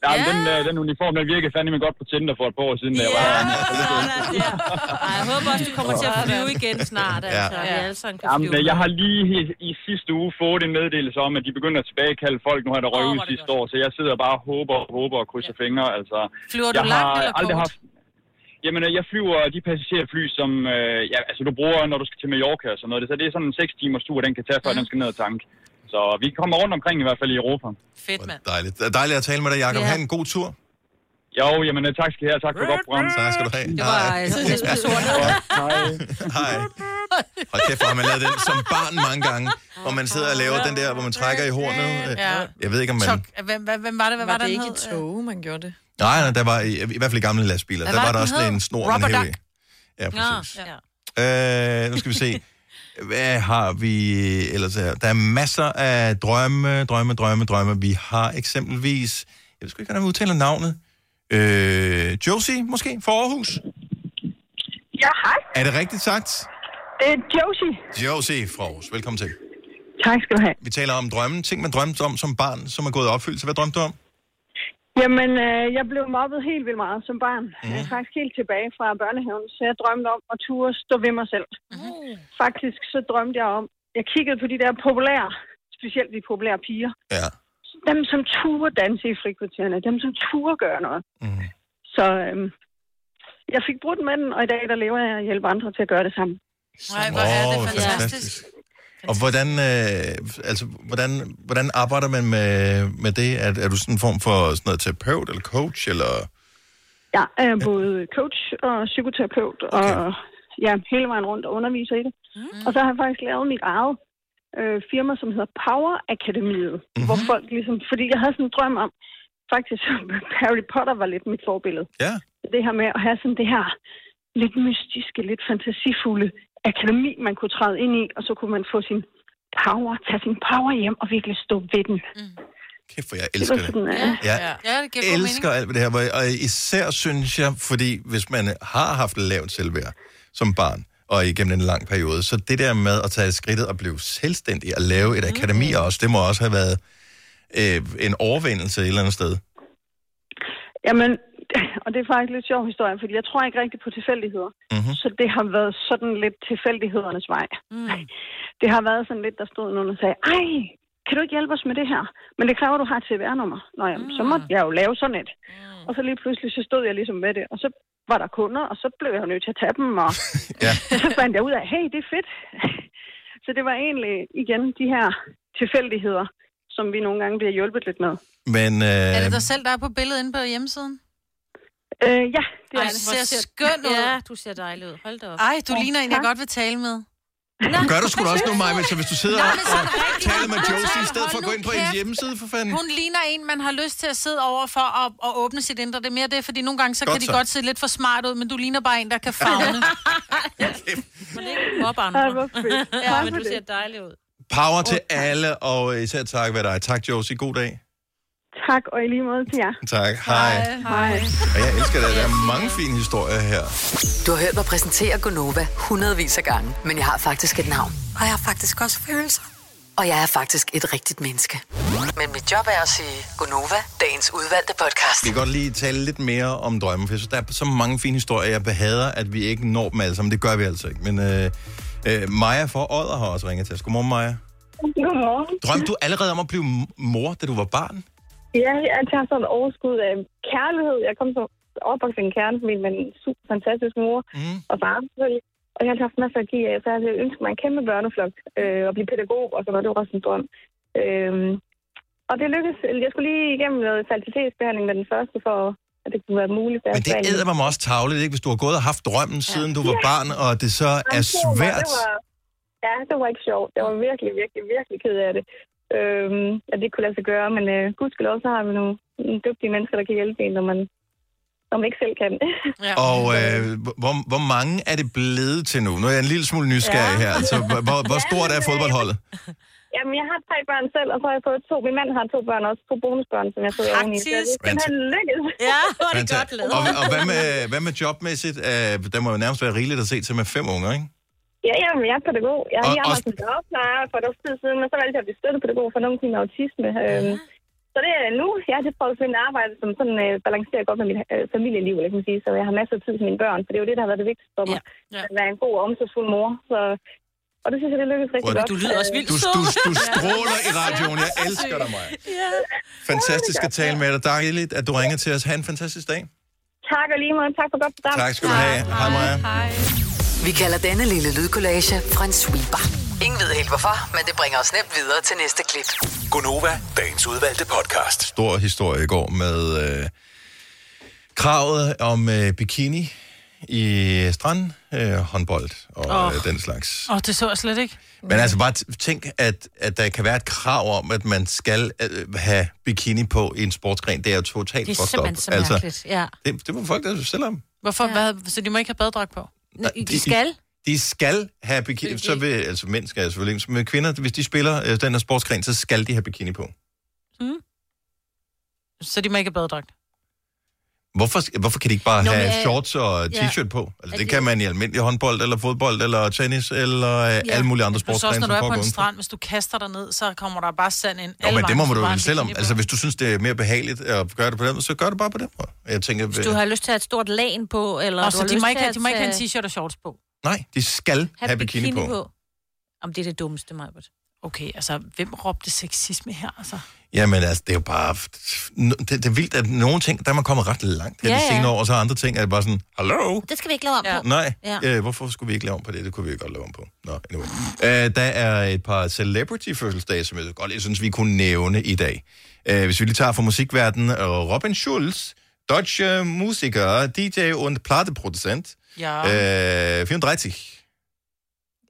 ja, men den, øh, den uniform, den virkede fandme godt på Tinder for et par år siden, da jeg var herinde. Altså, det- Ej, jeg håber også, du kommer til at flyve igen snart, altså. Ja. Vi alle sammen kan Jamen, flyve. jeg har lige i, i sidste uge fået en meddelelse om, at de begynder at tilbagekalde folk, nu har der røget ud sidste år, så jeg sidder bare og håber og håber og krydser ja. fingre. Altså, Flyver du jeg langt eller aldrig kort? haft Jamen, øh, jeg flyver de passagerfly, som øh, ja, altså, du bruger, når du skal til Mallorca og sådan noget. Så det er sådan en 6 timers tur, den kan tage, før den skal ned og tanke. Så vi kommer rundt omkring i hvert fald i Europa. Fedt, mand. Dejligt. Det er Dejligt at tale med dig, Jacob. Ja. Ja. Ha' en god tur. Jo, jamen øh, tak skal I have. Tak for et godt program. Tak skal du have. Det var, Hej. øh, Hej. Hold kæft, hvor har man lavet den som barn mange gange, hvor man sidder og laver den der, hvor man trækker i hornet. Ja. øh, Jeg ved ikke, om man... Tok. Hvem, hvem, hvem var det? Hvad var, var var det den ikke i hed? tog, man gjorde det? Nej, nej, der var i, i hvert fald i gamle lastbiler, Hvad der var var det, den der også hed? en snor, man Rubber hævde i. duck. Ja, præcis. Ja. Øh, nu skal vi se. Hvad har vi ellers her? Der er masser af drømme, drømme, drømme, drømme. Vi har eksempelvis... Jeg ved sgu ikke, hvordan man udtaler navnet. Øh, Josie, måske, for Aarhus? Ja, hej. Er det rigtigt sagt? Det er Josie. Josie fra Aarhus. Velkommen til. Tak skal du have. Vi taler om drømmen. Ting, man drømte om som barn, som er gået i opfyldelse. Hvad drømte du om? Jamen, øh, jeg blev mobbet helt vildt meget som barn. Mm. Øh, faktisk helt tilbage fra børnehaven, så jeg drømte om at ture stå ved mig selv. Mm. Faktisk så drømte jeg om, jeg kiggede på de der populære, specielt de populære piger. Ja. Dem, som turde danse i frikvartererne, dem, som turde gøre noget. Mm. Mhm. Så øhm, jeg fik brudt med den, og i dag der lever jeg og hjælper andre til at gøre det samme. Nej, hvor er det Åh, fantastisk. Og hvordan, øh, altså, hvordan, hvordan arbejder man med, med det? Er, er du sådan en form for sådan noget terapeut eller coach? Eller? Jeg er både coach og psykoterapeut, okay. og ja, hele vejen rundt og underviser i det. Mm. Og så har jeg faktisk lavet mit eget øh, firma, som hedder Power Akademiet, mm-hmm. hvor folk ligesom, fordi jeg havde sådan en drøm om, faktisk Harry Potter var lidt mit forbillede. Ja. Det her med at have sådan det her lidt mystiske, lidt fantasifulde akademi, man kunne træde ind i, og så kunne man få sin power, tage sin power hjem og virkelig stå ved den. Mm. Kæft, for jeg elsker det. Jeg Ja, det giver god mening. elsker alt ved det her. hvor jeg- Og især synes jeg, fordi hvis man har haft lavt selvværd som barn, og igennem en lang periode, så det der med at tage skridtet og blive selvstændig og lave et akademi Mm. også, det må også have været øh, en overvindelse et eller andet sted. Jamen, og det er faktisk en lidt sjov historie, fordi jeg tror ikke rigtig på tilfældigheder. Mm-hmm. Så det har været sådan lidt tilfældighedernes vej. Mm. Det har været sådan lidt, der stod nogen og sagde, ej, kan du ikke hjælpe os med det her? Men det kræver, at du har et CVR-nummer. Nå jamen, mm. så måtte jeg jo lave sådan et. Mm. Og så lige pludselig, så stod jeg ligesom med det, og så var der kunder, og så blev jeg jo nødt til at tage dem, og ja. så fandt jeg ud af, hey, det er fedt. så det var egentlig, igen, de her tilfældigheder, som vi nogle gange bliver hjulpet lidt med. Men, øh, Er det dig selv, der er på billedet inde på hjemmesiden? Øh, ja, det Ej, er du det. ser skøn ud. Ja, du ser dejlig ud. Hold da op. Ej, du Åh, ligner en, jeg tak. godt vil tale med. Gør du sgu da også noget, Maja, så hvis du sidder Nå, og men sådan og rigtigt. taler med Josie, i stedet for Hold at gå nu ind på kæft. hendes hjemmeside, for fanden. Hun ligner en, man har lyst til at sidde over for at, at åbne sit indre. Det er mere det, fordi nogle gange så Godt kan de så. godt se lidt for smart ud, men du ligner bare en, der kan fagne. Men det er ikke mobbe andre. Ej, hvor fedt. Ja, Tak men for du det. ser dejlig ud. Power til alle, og øh, især tak ved dig. Tak, Josie. God dag. Tak, og i lige måde til jer. Tak. Hej. Hej. Og jeg elsker det. Der er mange fine historier her. Du har hørt mig præsentere Gonova hundredvis af gange, men jeg har faktisk et navn. Og jeg har faktisk også følelser. Og jeg er faktisk et rigtigt menneske. Men mit job er at sige Gonova, dagens udvalgte podcast. Vi kan godt lige tale lidt mere om drømme, for jeg synes, der er så mange fine historier, jeg behader, at vi ikke når dem alle sammen. Det gør vi altså ikke. Men øh, øh, Maja fra Odder har også ringet til os. Godmorgen, Maja. Godmorgen. Drømte du allerede om at blive m- mor, da du var barn? Ja, jeg tager sådan et overskud af kærlighed. Jeg kom så opvokset i en kernefamilie med en super fantastisk mor Mhm. mm. og far selvfølgelig. Og jeg har altid haft masser af gi af, så jeg havde ønsket mig en kæmpe børneflok øh, og blive pædagog, og så var det jo også en drøm. Øhm, og det lykkedes. Jeg skulle lige igennem noget fertilitetsbehandling med den første, for at det kunne være muligt. Men det æder mig også tavlet, ikke? Hvis du har gået og haft drømmen, siden du var barn, og det så er Jamen, det var- svært. Det var, ja, det var ikke sjovt. Jeg var virkelig, virkelig, virkelig ked af det. Øhm, at det ikke kunne lade sig gøre, men øh, gudskelov, så har vi nogle, nogle dygtige mennesker, der kan hjælpe en, når man, når man ikke selv kan. Og øh, hvor, hvor mange er det blevet til nu? Nu er jeg en lille smule nysgerrig Ja. her. Altså, hvor, hvor- hvor stort er fodboldholdet? Jamen, jeg har tre børn selv, og så har jeg fået to. Min mand har to børn også, to bonusbørn, som jeg sidder oveni. Så det er Praktisk. simpelthen lykkedes. Ja, Fanta- Og, og hvad, med, hvad med jobmæssigt? Øh, der må jo nærmest være rigeligt at se til med fem unger, ikke? Ja, jamen, jeg er pædagog. Jeg har Og- lige og- arbejdet som dagplejer for et års tid siden, men så valgte jeg at blive støttepædagog for nogen med autisme. Øhm, så det er nu, jeg har til prøvet at finde arbejde, som sådan øh, balancerer godt med mit øh, familieliv, eller kan man sige, så jeg har masser af tid til mine børn, for det er jo det, der har været det vigtigste for mig. Ja. At være en god og omsorgsfuld mor. Så, og det synes jeg, det lykkedes rigtig godt. du, du, du stråler i radioen. Jeg elsker dig, Maja. Ja. Fantastisk at tale med dig. Dejligt, at du ringer til os. Ha' en fantastisk dag. Tak og lige måde. Tak for godt program. Tak skal du have. Hej, Maja. Vi kalder denne lille lydkollage en sweeper. Ingen ved helt hvorfor, men det bringer os nemt videre til næste klip. Gonova, dagens udvalgte podcast. Stor historie i går med øh, kravet om øh, bikini i strand, øh, håndbold og Åh. øh, den slags. Åh, oh, det så jeg slet ikke. Men altså bare t- tænk, at, at der kan være et krav om, at man skal øh, have bikini på i en sportsgren. Det er jo totalt Det er fucked simpelthen up. Altså, så mærkeligt, ja. det, det må folk der selv om. Hvorfor? Ja. Hvad, så de må ikke have baddrag på? de- de- De skal have bikini. Så vil, altså mænd skal selvfølgelig ikke, men kvinder, hvis de spiller øh, den her sportsgren, så skal de have bikini på. Hmm? Så de må ikke have baddrag. Hvorfor, sk- hvorfor kan de ikke bare Nå, Nå, have men, øh, shorts og ja. t-shirt på? Altså, Er det, det- kan man i almindelig håndbold, eller fodbold, eller tennis, eller ja. alle mulige andre Du så også, når sportsgrene, som du er på foregår en udenfor. strand, hvis du kaster dig ned, så kommer der bare sand ind. Nå, Alle men det må vejen, så man jo bare en vælge selv om. bikini på. Altså, hvis du synes, det er mere behageligt at gøre det på den måde, så gør det bare på den måde. Jeg tænker, Hvis du har lyst til at have et stort lagen på, eller Nå, du så har de lyst må til ikke have- at de må ikke have en tage- t-shirt og shorts på. Nej, de skal have, have bikini, bikini på. på. Om det er det dummeste, Majbert. Okay, altså, hvem råbte sexisme her, altså? Jamen altså, det er jo bare... Det, det er vildt, at nogle ting, der er man kommet ret langt her ja, Ja, de ja. senere år, og så andre ting er det bare sådan, hallo? Det skal vi ikke lave om på. Nej, Ja. ja. øh, hvorfor skulle vi ikke lave om på det? Det kunne vi jo godt lave om på. Nå, anyway. øh, der er et par celebrity-fødselsdage, som jeg godt lige synes, vi kunne nævne i dag. Øh, hvis vi lige tager fra musikverdenen, øh, Robin Schulz, deutsche musiker, DJ und Plateproducent, Ja. Ah. äh, 34.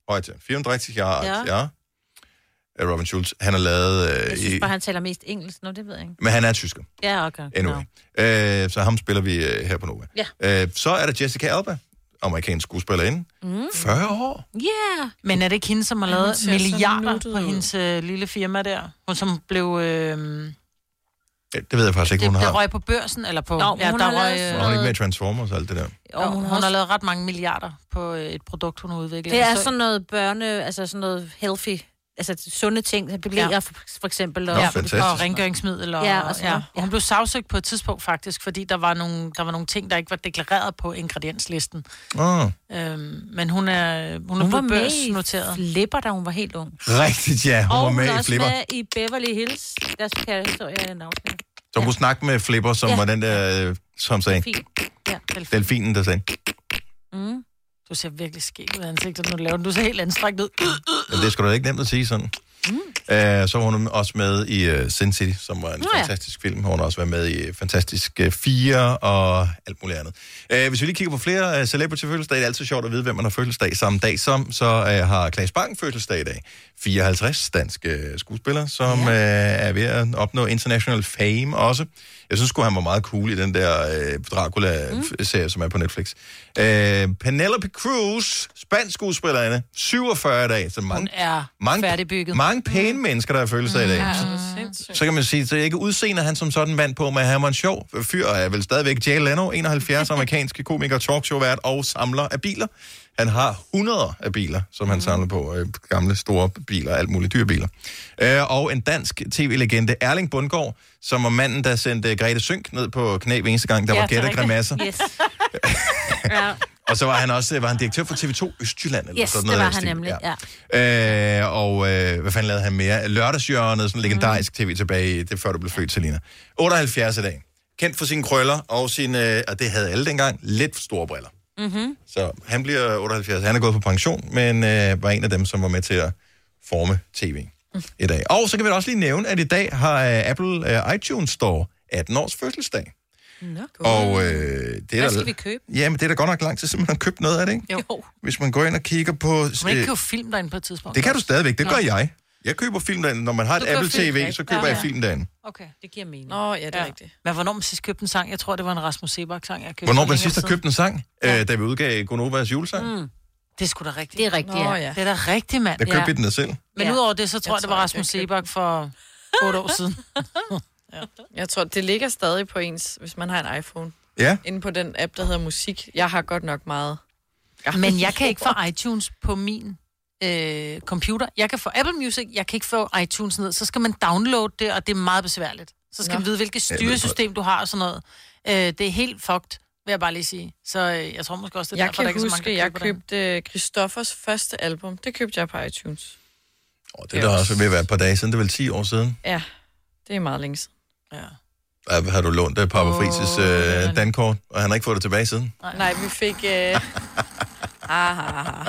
Heute. 34 Jahre alt, Ja. ja. ja. Robin Schulz, han har lavet... Øh, Jeg i, synes bare, han taler mest engelsk. Nå, det ved jeg ikke. men han er tysker, Ja, okay. anyway. Nå. Øh, så ham spiller vi øh, her på Nova. Ja. Øh, så er der Jessica Alba, amerikansk skuespillerinde. Mm. 40 år? Yeah. Men er det ikke hende, som har Ja, hun lavet ser så milliarder nuttet på hendes øh, lille firma der? Hun som blev... Øh, Ja, Øh, Det ved jeg faktisk ikke, det, hun der har. røg på børsen, eller på... Nå, hun der har lavet Var hun ikke med i Transformers og alt det der? Jo, hun, hun også- har lavet ret mange milliarder på øh, et produkt, hun har udviklet. Det er Så- sådan noget børne, altså sådan noget healthy, altså sunde ting, blæer ja. for, for eksempel. Nå, fantastisk. og rengøringsmiddel. Og, Ja, og sådan noget. Og Hun blev sagsøgt på et tidspunkt faktisk, fordi der var nogle, der var nogle ting, der ikke var deklareret på ingredienslisten. Oh. Øhm, men hun er, hun er Hun var blevet med i børsnoteret. Flipper, da hun var helt ung. Rigtigt, ja. Hun og var hun med er i også Flipper. med i Beverly Hills. Der skal jeg så jeg en afsnit. Så hun kunne snakke med Flipper, som Ja. var den der, øh, som sagde, Fint. Ja. delfinen, der sagde, Mm. Du ser virkelig skæg ud i ansigtet, når du laver den. Du ser helt anstrengt ud. "Men det skulle da ikke nemt at sige sådan. Mm. Øh, så var hun også med i uh, Sin City, som var en Nå Nå, ja. fantastisk film. Hun har også været med i øh, Fantastisk øh, 4 og alt muligt andet. Øh, hvis vi lige kigger på flere uh, celebrity fødselsdage, det er altid sjovt at vide, hvem man har fødselsdag samme dag som. Så uh, har Claes Bang fødselsdag i dag. 54, dansk øh, skuespiller, som ja. øh, er ved at opnå international fame også. Jeg synes sgu, han var meget cool i den der øh, Dracula-serie, mm. som er på Netflix. Øh, Penelope Cruz, spansk skuespillerinde, 47 dage. Så mange, er mange, færdigbygget. Mm. Mange pæne mennesker, der har følelser i dag. Ja. Så kan man sige, så ikke udseende han som sådan vand på, men han var en sjov fyr, og er vel stadigvæk Jay Leno, 71 amerikanske komiker, talkshow-vært og samler af biler. Han har hundreder af biler, som Mm. han samler på. Øh, gamle, store biler, alt muligt dyre biler. Øh, og en dansk tv-legende, Erling Bundgaard, som var manden, der sendte Grete Sønk ned på knæ hver eneste gang, der ja, var gættergrimasser. Yes. ja. Og så var han også øh, var han direktør for TV2 Østjylland. Eller Yes, sådan det noget var i den han stil. nemlig. Ja. Øh, og øh, hvad fanden lavede han mere? Lørdagsjørnet, sådan en legendarisk tv tilbage, i- det er før du blev født, Selina. 78 i dag. Kendt for sine krøller og sin, øh, og det havde alle dengang, lidt store briller. Mm-hmm. Så han bliver 78. Han er gået på pension, men øh, var en af dem, som var med til at forme tv i dag. Og så kan vi da også lige nævne, at i dag har øh, Apple øh, iTunes Store 18 års fødselsdag. Nå. Og øh, det er Hvad der- skal vi købe? Jamen, det er da godt nok lang tid, siden man har købt noget af det, ikke? Jo. Hvis man går ind og kigger på... Kan man ikke købe film derinde på et tidspunkt? det kan du stadigvæk, det Nå. gør jeg. Jeg køber film derinde. Når man har et Du køber Apple film, TV, ikke? så køber Ja. jeg film derinde. Okay, det giver mening. Nå, ja, det er ja. rigtigt. Men hvornår man sidst købte en sang? Jeg tror, det var en Rasmus Sebak-sang, jeg købte. Hvornår for man længere sidst har tid. købt en sang, øh, da vi udgav Gonovas julesang, Mm. Det er sgu da rigtigt. Det er rigtigt, Nå, ja. ja. Det er da rigtigt, mand. der købte vi den der selv. Men Ja. udover det, så tror jeg, Jeg jeg det tror, var jeg Rasmus Sebak for 8 år siden. Jeg tror, det ligger stadig på ens, hvis man har en iPhone. Ja. Inde på den app, der hedder musik. Jeg har godt nok meget. Men jeg kan ikke få iTunes på min øh, computer. Jeg kan få Apple Music, jeg kan ikke få iTunes ned. Så skal man downloade det, og det er meget besværligt. Så skal Nå. man vide, hvilket Jeg ved godt. styresystem du har og sådan noget. Øh, det er helt fucked, vil jeg bare lige sige. Så øh, jeg tror måske også, det er Jeg derfor, kan der ikke er så mange, huske, der jeg køber den. købte øh, Christoffers første album. Det købte jeg på iTunes. Og det er da også ved at være et par dage siden, det er vel 10 år siden. Ja, det er meget længe siden. Ja. Der har du lånt uh, Papa Frises men- uh, dankort, og han har ikke fået det tilbage siden. Nej, Nej vi fik... Øh... ah, ah, ah.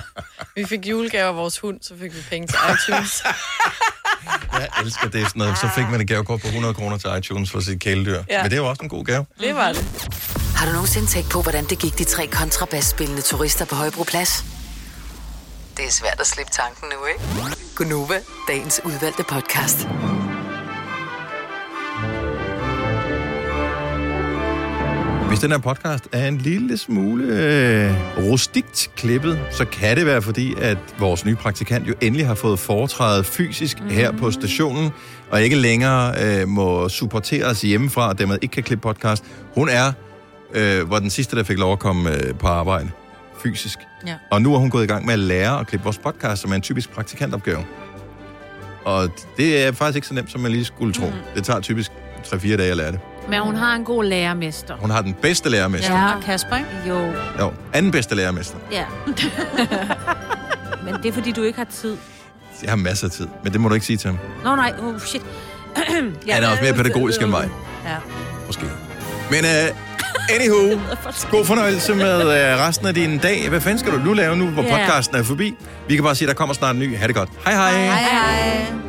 Vi fik julegaver af vores hund, så fik vi penge til iTunes. Jeg elsker det sådan noget. Så fik man et gavekort på 100 kroner til iTunes for sit kæledyr. Ja. Men det er jo også en god gave. Det var det. Har du nogensinde tænkt på, hvordan det gik de tre kontrabasspillende turister på Højbroplads? Det er svært at slippe tanken nu, ikke? Gunova, dagens udvalgte podcast. Hvis den her podcast er en lille smule øh, rustikt klippet, så kan det være fordi, at vores nye praktikant jo endelig har fået foretrædet fysisk mm. her på stationen, og ikke længere øh, må supportere os hjemmefra, og dermed ikke kan klippe podcast. Hun er, øh, var den sidste, der fik lov at komme øh, på arbejde fysisk. Ja. Og nu er hun gået i gang med at lære at klippe vores podcast, som er en typisk praktikantopgave. Og det er faktisk ikke så nemt, som man lige skulle tro. Mm. Det tager typisk 3-4 dage at lære det. Men hun har en god lærermester. Hun har den bedste lærermester. Ja, Kasper, ikke? Jo, Jo, anden bedste lærermester. ja. Men det er, fordi du ikke har tid. Jeg har masser af tid, men det må du ikke sige til ham. Nå nej, oh shit. ja, Han er også mere pædagogisk end mig, Ja. måske. Men uh, anywho, god fornøjelse med uh, resten af din dag. Hvad fanden skal du nu lave nu, hvor Ja. podcasten er forbi? Vi kan bare sige, at der kommer snart en ny. Ha' det godt. Hej hej. Hej hej.